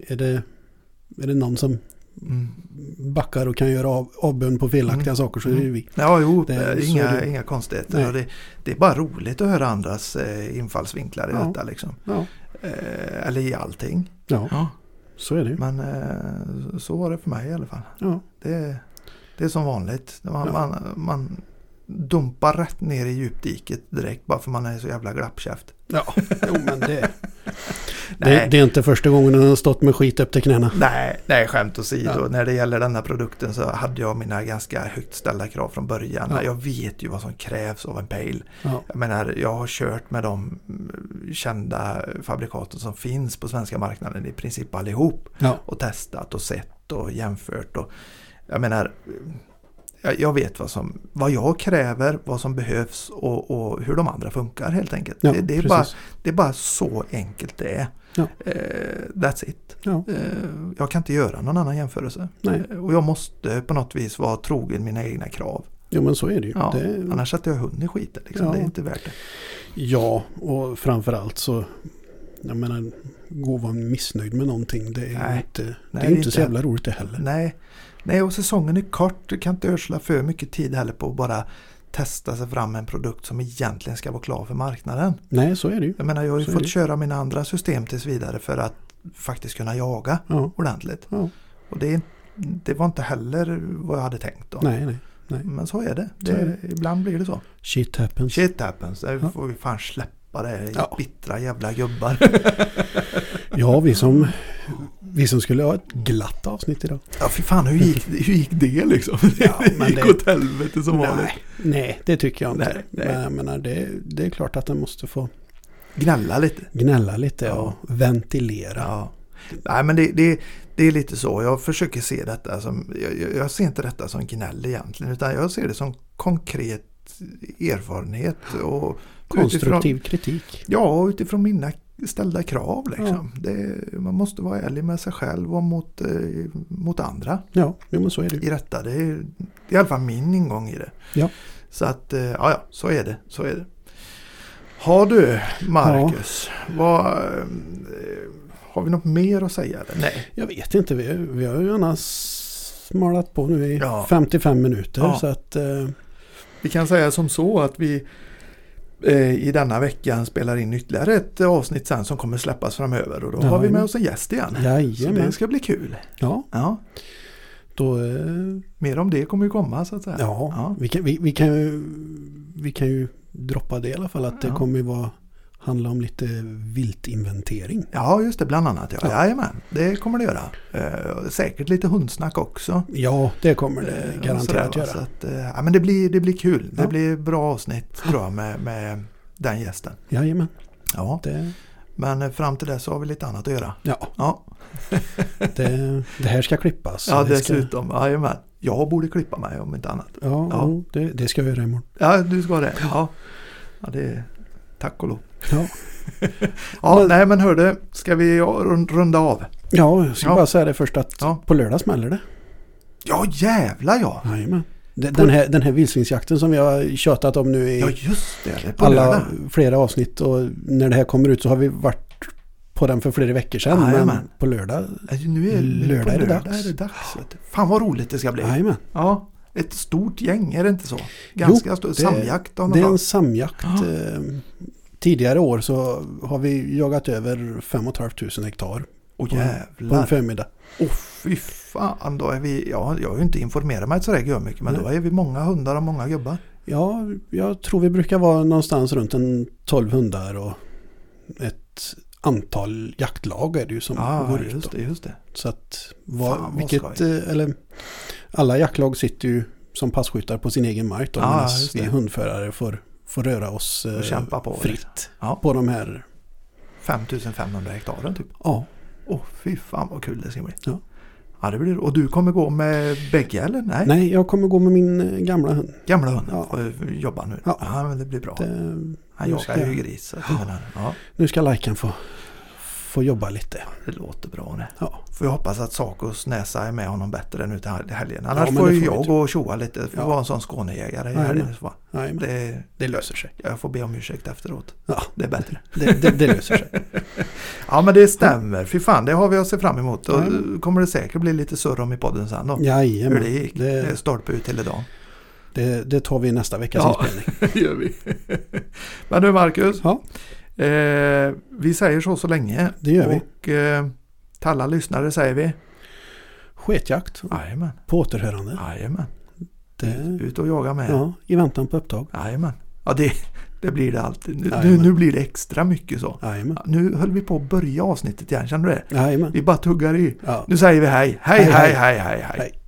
S1: är det, är det någon som
S2: Mm.
S1: backar och kan göra av, avbön på felaktiga
S2: Mm.
S1: saker så är det ju
S2: Mm.
S1: vi.
S2: Ja, jo,
S1: Det-
S2: eh,
S1: så
S2: inga,
S1: är det.
S2: inga konstigheter.
S1: Nej.
S2: Och det, det är bara roligt att höra andras eh, infallsvinklar i
S1: Ja.
S2: detta. Liksom.
S1: Ja,
S2: Eh, eller i allting.
S1: ja så är det ju.
S2: Men eh, så var det för mig i alla fall.
S1: Ja,
S2: Det, det är som vanligt. Man,
S1: Ja.
S2: man, man dumpar rätt ner i djupdiket direkt bara för man är så jävla glappkäft.
S1: ja. Jo,
S2: (laughs)
S1: men det, det,
S2: Nej.
S1: det är inte första gången den har stått med skit upp till knäna.
S2: Nej, nej, skämt åsido.
S1: Ja.
S2: När det gäller denna produkten så hade jag mina ganska högt ställda krav från början.
S1: Ja.
S2: Jag vet ju vad som krävs av en pale.
S1: Ja,
S2: Jag menar, jag har kört med de mm, kända fabrikaten som finns på svenska marknaden i princip allihop.
S1: ja,
S2: Och testat och sett och jämfört. Och, jag menar, jag, jag vet vad, som, vad jag kräver, vad som behövs och, och hur de andra funkar helt enkelt.
S1: ja
S2: det, det, är
S1: precis.
S2: bara, det är bara så enkelt det är.
S1: Ja.
S2: Eh, that's it.
S1: Ja,
S2: Eh, Jag kan inte göra någon annan jämförelse.
S1: nej.
S2: Eh, Och jag måste på något vis vara trogen mina egna krav.
S1: Jo, men så är det ju.
S2: Ja,
S1: det,
S2: Annars sätter jag hunden i skiten. Liksom.
S1: Ja.
S2: Det är inte värt det.
S1: ja och framförallt så, jag menar, gå och vara missnöjd med någonting, det är ju
S2: Nej.
S1: inte, det
S2: Nej,
S1: är ju inte så jävla roligt det heller.
S2: Nej. Nej, och säsongen är kort. Du kan inte ödsla för mycket tid heller på att bara testa sig fram med en produkt som egentligen ska vara klar för marknaden.
S1: Nej, så är det ju.
S2: Jag menar, jag har ju
S1: Så är
S2: fått
S1: det.
S2: köra mina andra system tills vidare för att faktiskt kunna jaga
S1: Ja,
S2: ordentligt.
S1: Ja.
S2: Och det, är- det var inte heller vad jag hade tänkt då.
S1: nej, nej.
S2: Men så är det.
S1: Så
S2: det.
S1: är
S2: Ibland blir det så.
S1: Shit happens.
S2: Shit happens. Nu
S1: Ja.
S2: får vi fan släppa det.
S1: Ja.
S2: Bittra jävla gubbar.
S1: Ja, vi som, Vi som skulle ha ett glatt avsnitt idag.
S2: (laughs) Ja, fy fan, hur gick, hur gick det liksom? (laughs)
S1: Ja,
S2: det
S1: men
S2: gick
S1: det-
S2: åt helvete som vanligt.
S1: nej, nej, det tycker jag inte.
S2: Nej, nej.
S1: Men jag menar, det, det är klart att den måste få
S2: Gnälla lite.
S1: gnälla lite
S2: Ja.
S1: och ventilera.
S2: Ja. Nej, men det, det, det är lite så. Jag försöker se detta som... Jag, jag- jag ser inte detta som gnäll egentligen. Utan jag ser det som konkret erfarenhet. Och
S1: Konstruktiv
S2: Utifrån,
S1: kritik.
S2: ja, utifrån mina ställda krav. Liksom. Det, man måste vara ärlig med sig själv och mot, eh, mot andra
S1: Ja, jo, men så är det ju.
S2: i detta. Det är i alla fall min ingång i det.
S1: Ja.
S2: Så att, eh, ja, ja, så är det. Så är det. Har du, Marcus, vad, eh, har vi något mer att säga? Eller? Nej.
S1: Jag vet inte, vi, vi har ju annars smalat på nu i
S2: Ja.
S1: 55 minuter.
S2: Ja.
S1: Så att, eh,
S2: Vi kan säga som så att vi eh, i denna veckan spelar in ytterligare ett avsnitt sen som kommer släppas framöver och då har vi med
S1: Jajamän.
S2: oss en gäst igen. Så
S1: jajamän.
S2: det ska bli kul.
S1: Ja,
S2: Ja,
S1: då, eh,
S2: mer om det kommer ju komma så att säga.
S1: ja,
S2: Ja.
S1: Vi, kan, vi, vi, kan ju, vi kan ju droppa det i alla fall att det
S2: Ja.
S1: kommer ju vara, handla om lite viltinventering.
S2: Ja, just det, bland annat. Ja.
S1: Ja.
S2: Jajamän, det kommer det göra. Eh, säkert lite hundsnack också.
S1: Ja, det kommer
S2: Eh,
S1: det
S2: och
S1: garanterat
S2: sådär, va. Så
S1: göra.
S2: att, eh, ja, men det blir, det blir kul. Det
S1: Ja.
S2: blir bra avsnitt tror jag med, med den gästen.
S1: Jajamän,
S2: Ja,
S1: det,
S2: men eh, fram till dess så har vi lite annat att göra.
S1: ja,
S2: Ja,
S1: det, det här ska klippas.
S2: ja
S1: Det ska-
S2: dessutom. Jajamän. Jag borde klippa mig om inte annat.
S1: Ja,
S2: Ja.
S1: jo, Det, det ska jag göra imorgon.
S2: Ja, du ska det. Ja, ja det är... Tack och lov.
S1: Ja,
S2: (laughs) Ja, nej men hörde, ska vi rund- runda av?
S1: ja jag ska
S2: Ja.
S1: bara säga det först att
S2: Ja.
S1: på lördag smäller det.
S2: Ja, jävlar ja!
S1: Jajamän. De- Den här, den här vildsvinsjakten som vi har tjatat om nu i
S2: Ja, just det. det är på
S1: alla
S2: lördag.
S1: flera avsnitt och när det här kommer ut så har vi varit på den för flera veckor sedan.
S2: Jajamän.
S1: men på lördag,
S2: Äh, Nu är, nu
S1: Lördag
S2: på
S1: är det
S2: lördag
S1: dags.
S2: är det dags. vet du. Fan vad roligt det ska bli.
S1: jajamän.
S2: Ja, ett stort gäng, är det inte så? Ganska stort.
S1: det-
S2: Samjakt av något
S1: Det är en
S2: slag.
S1: samjakt.
S2: Ja.
S1: Eh, Tidigare år så har vi jagat över 5 500 hektar
S2: Åh
S1: på en
S2: jävlar.
S1: förmiddag.
S2: Åh fy fan, då är vi... Ja, jag har ju inte informerat mig sådär mycket men
S1: Nej.
S2: då är vi många hundar och många gubbar.
S1: Ja, jag tror vi brukar vara någonstans runt en 12 hundar och ett antal jaktlag är det ju som
S2: Ja,
S1: går ut.
S2: Ah, just
S1: Då.
S2: det, just det.
S1: Så att vad,
S2: Fan, vad
S1: vilket, eh, eller, alla jaktlag sitter ju som passkyttar på sin egen mark då,
S2: Ja,
S1: medan
S2: Ah, just
S1: vi
S2: det.
S1: hundförare får, får röra oss eh,
S2: Och kämpa på. liksom.
S1: fritt
S2: Ja.
S1: på de här.
S2: 5500 hektaren typ.
S1: Ja,
S2: Åh fy fan vad kul det ska bli.
S1: Ja.
S2: Ja, det blir, och du kommer gå med bägge eller? Nej,
S1: nej jag kommer gå med min eh, gamla hund.
S2: gamla hunden
S1: Ja.
S2: och jobba nu. Ja.
S1: Ja.
S2: men det blir bra.
S1: Det,
S2: Han
S1: nu
S2: jagar
S1: ska
S2: ju
S1: jag-
S2: gris. Så att jag menar, ja,
S1: Eh, nu ska Lajkan få, få jobba lite.
S2: det låter bra det.
S1: Ja.
S2: Får jag hoppas att Sakos näsa är med honom bättre nu till hel- helgen.
S1: Ja,
S2: Annars
S1: men
S2: får
S1: det
S2: ju
S1: får
S2: jag
S1: vi
S2: gå och tjoa lite. Jag får
S1: Ja.
S2: vara en sån skånejägare.
S1: Ja,
S2: här
S1: men.
S2: i så fall.
S1: Nej, men
S2: det,
S1: det löser sig.
S2: jag får be om ursäkt efteråt.
S1: Ja,
S2: Det är bättre.
S1: det, det, det
S2: (laughs)
S1: löser sig.
S2: Ja men det stämmer. Fy fan det har vi att se fram emot. Och
S1: Ja,
S2: kommer det säkert bli lite surr om i podden sen då. Hur
S1: Jajamän,
S2: det gick. Det är
S1: det,
S2: stolpe ut hela
S1: (laughs)
S2: dagen.
S1: det, det tar vi i nästa veckas
S2: Ja.
S1: inspelning.
S2: Det gör vi. (laughs) Men du Marcus,
S1: Ja,
S2: eh, vi säger så så länge.
S1: det gör vi.
S2: Och eh, till alla lyssnare säger vi.
S1: Sketjakt,
S2: Jajamän,
S1: på återhörande.
S2: jajamän.
S1: Det,
S2: Ut och jaga med.
S1: ja, I väntan på upptag.
S2: Jajamän. Ja det, det blir det alltid. Nu, nu,
S1: Jajamän.
S2: nu blir det extra mycket så.
S1: Jajamän.
S2: Ja, Nu höll vi på att börja avsnittet igen, känner du det?
S1: Jajamän.
S2: Vi bara tuggar i.
S1: Ja.
S2: Nu säger vi hej, hej, hej, hej, hej. hej.
S1: Hej.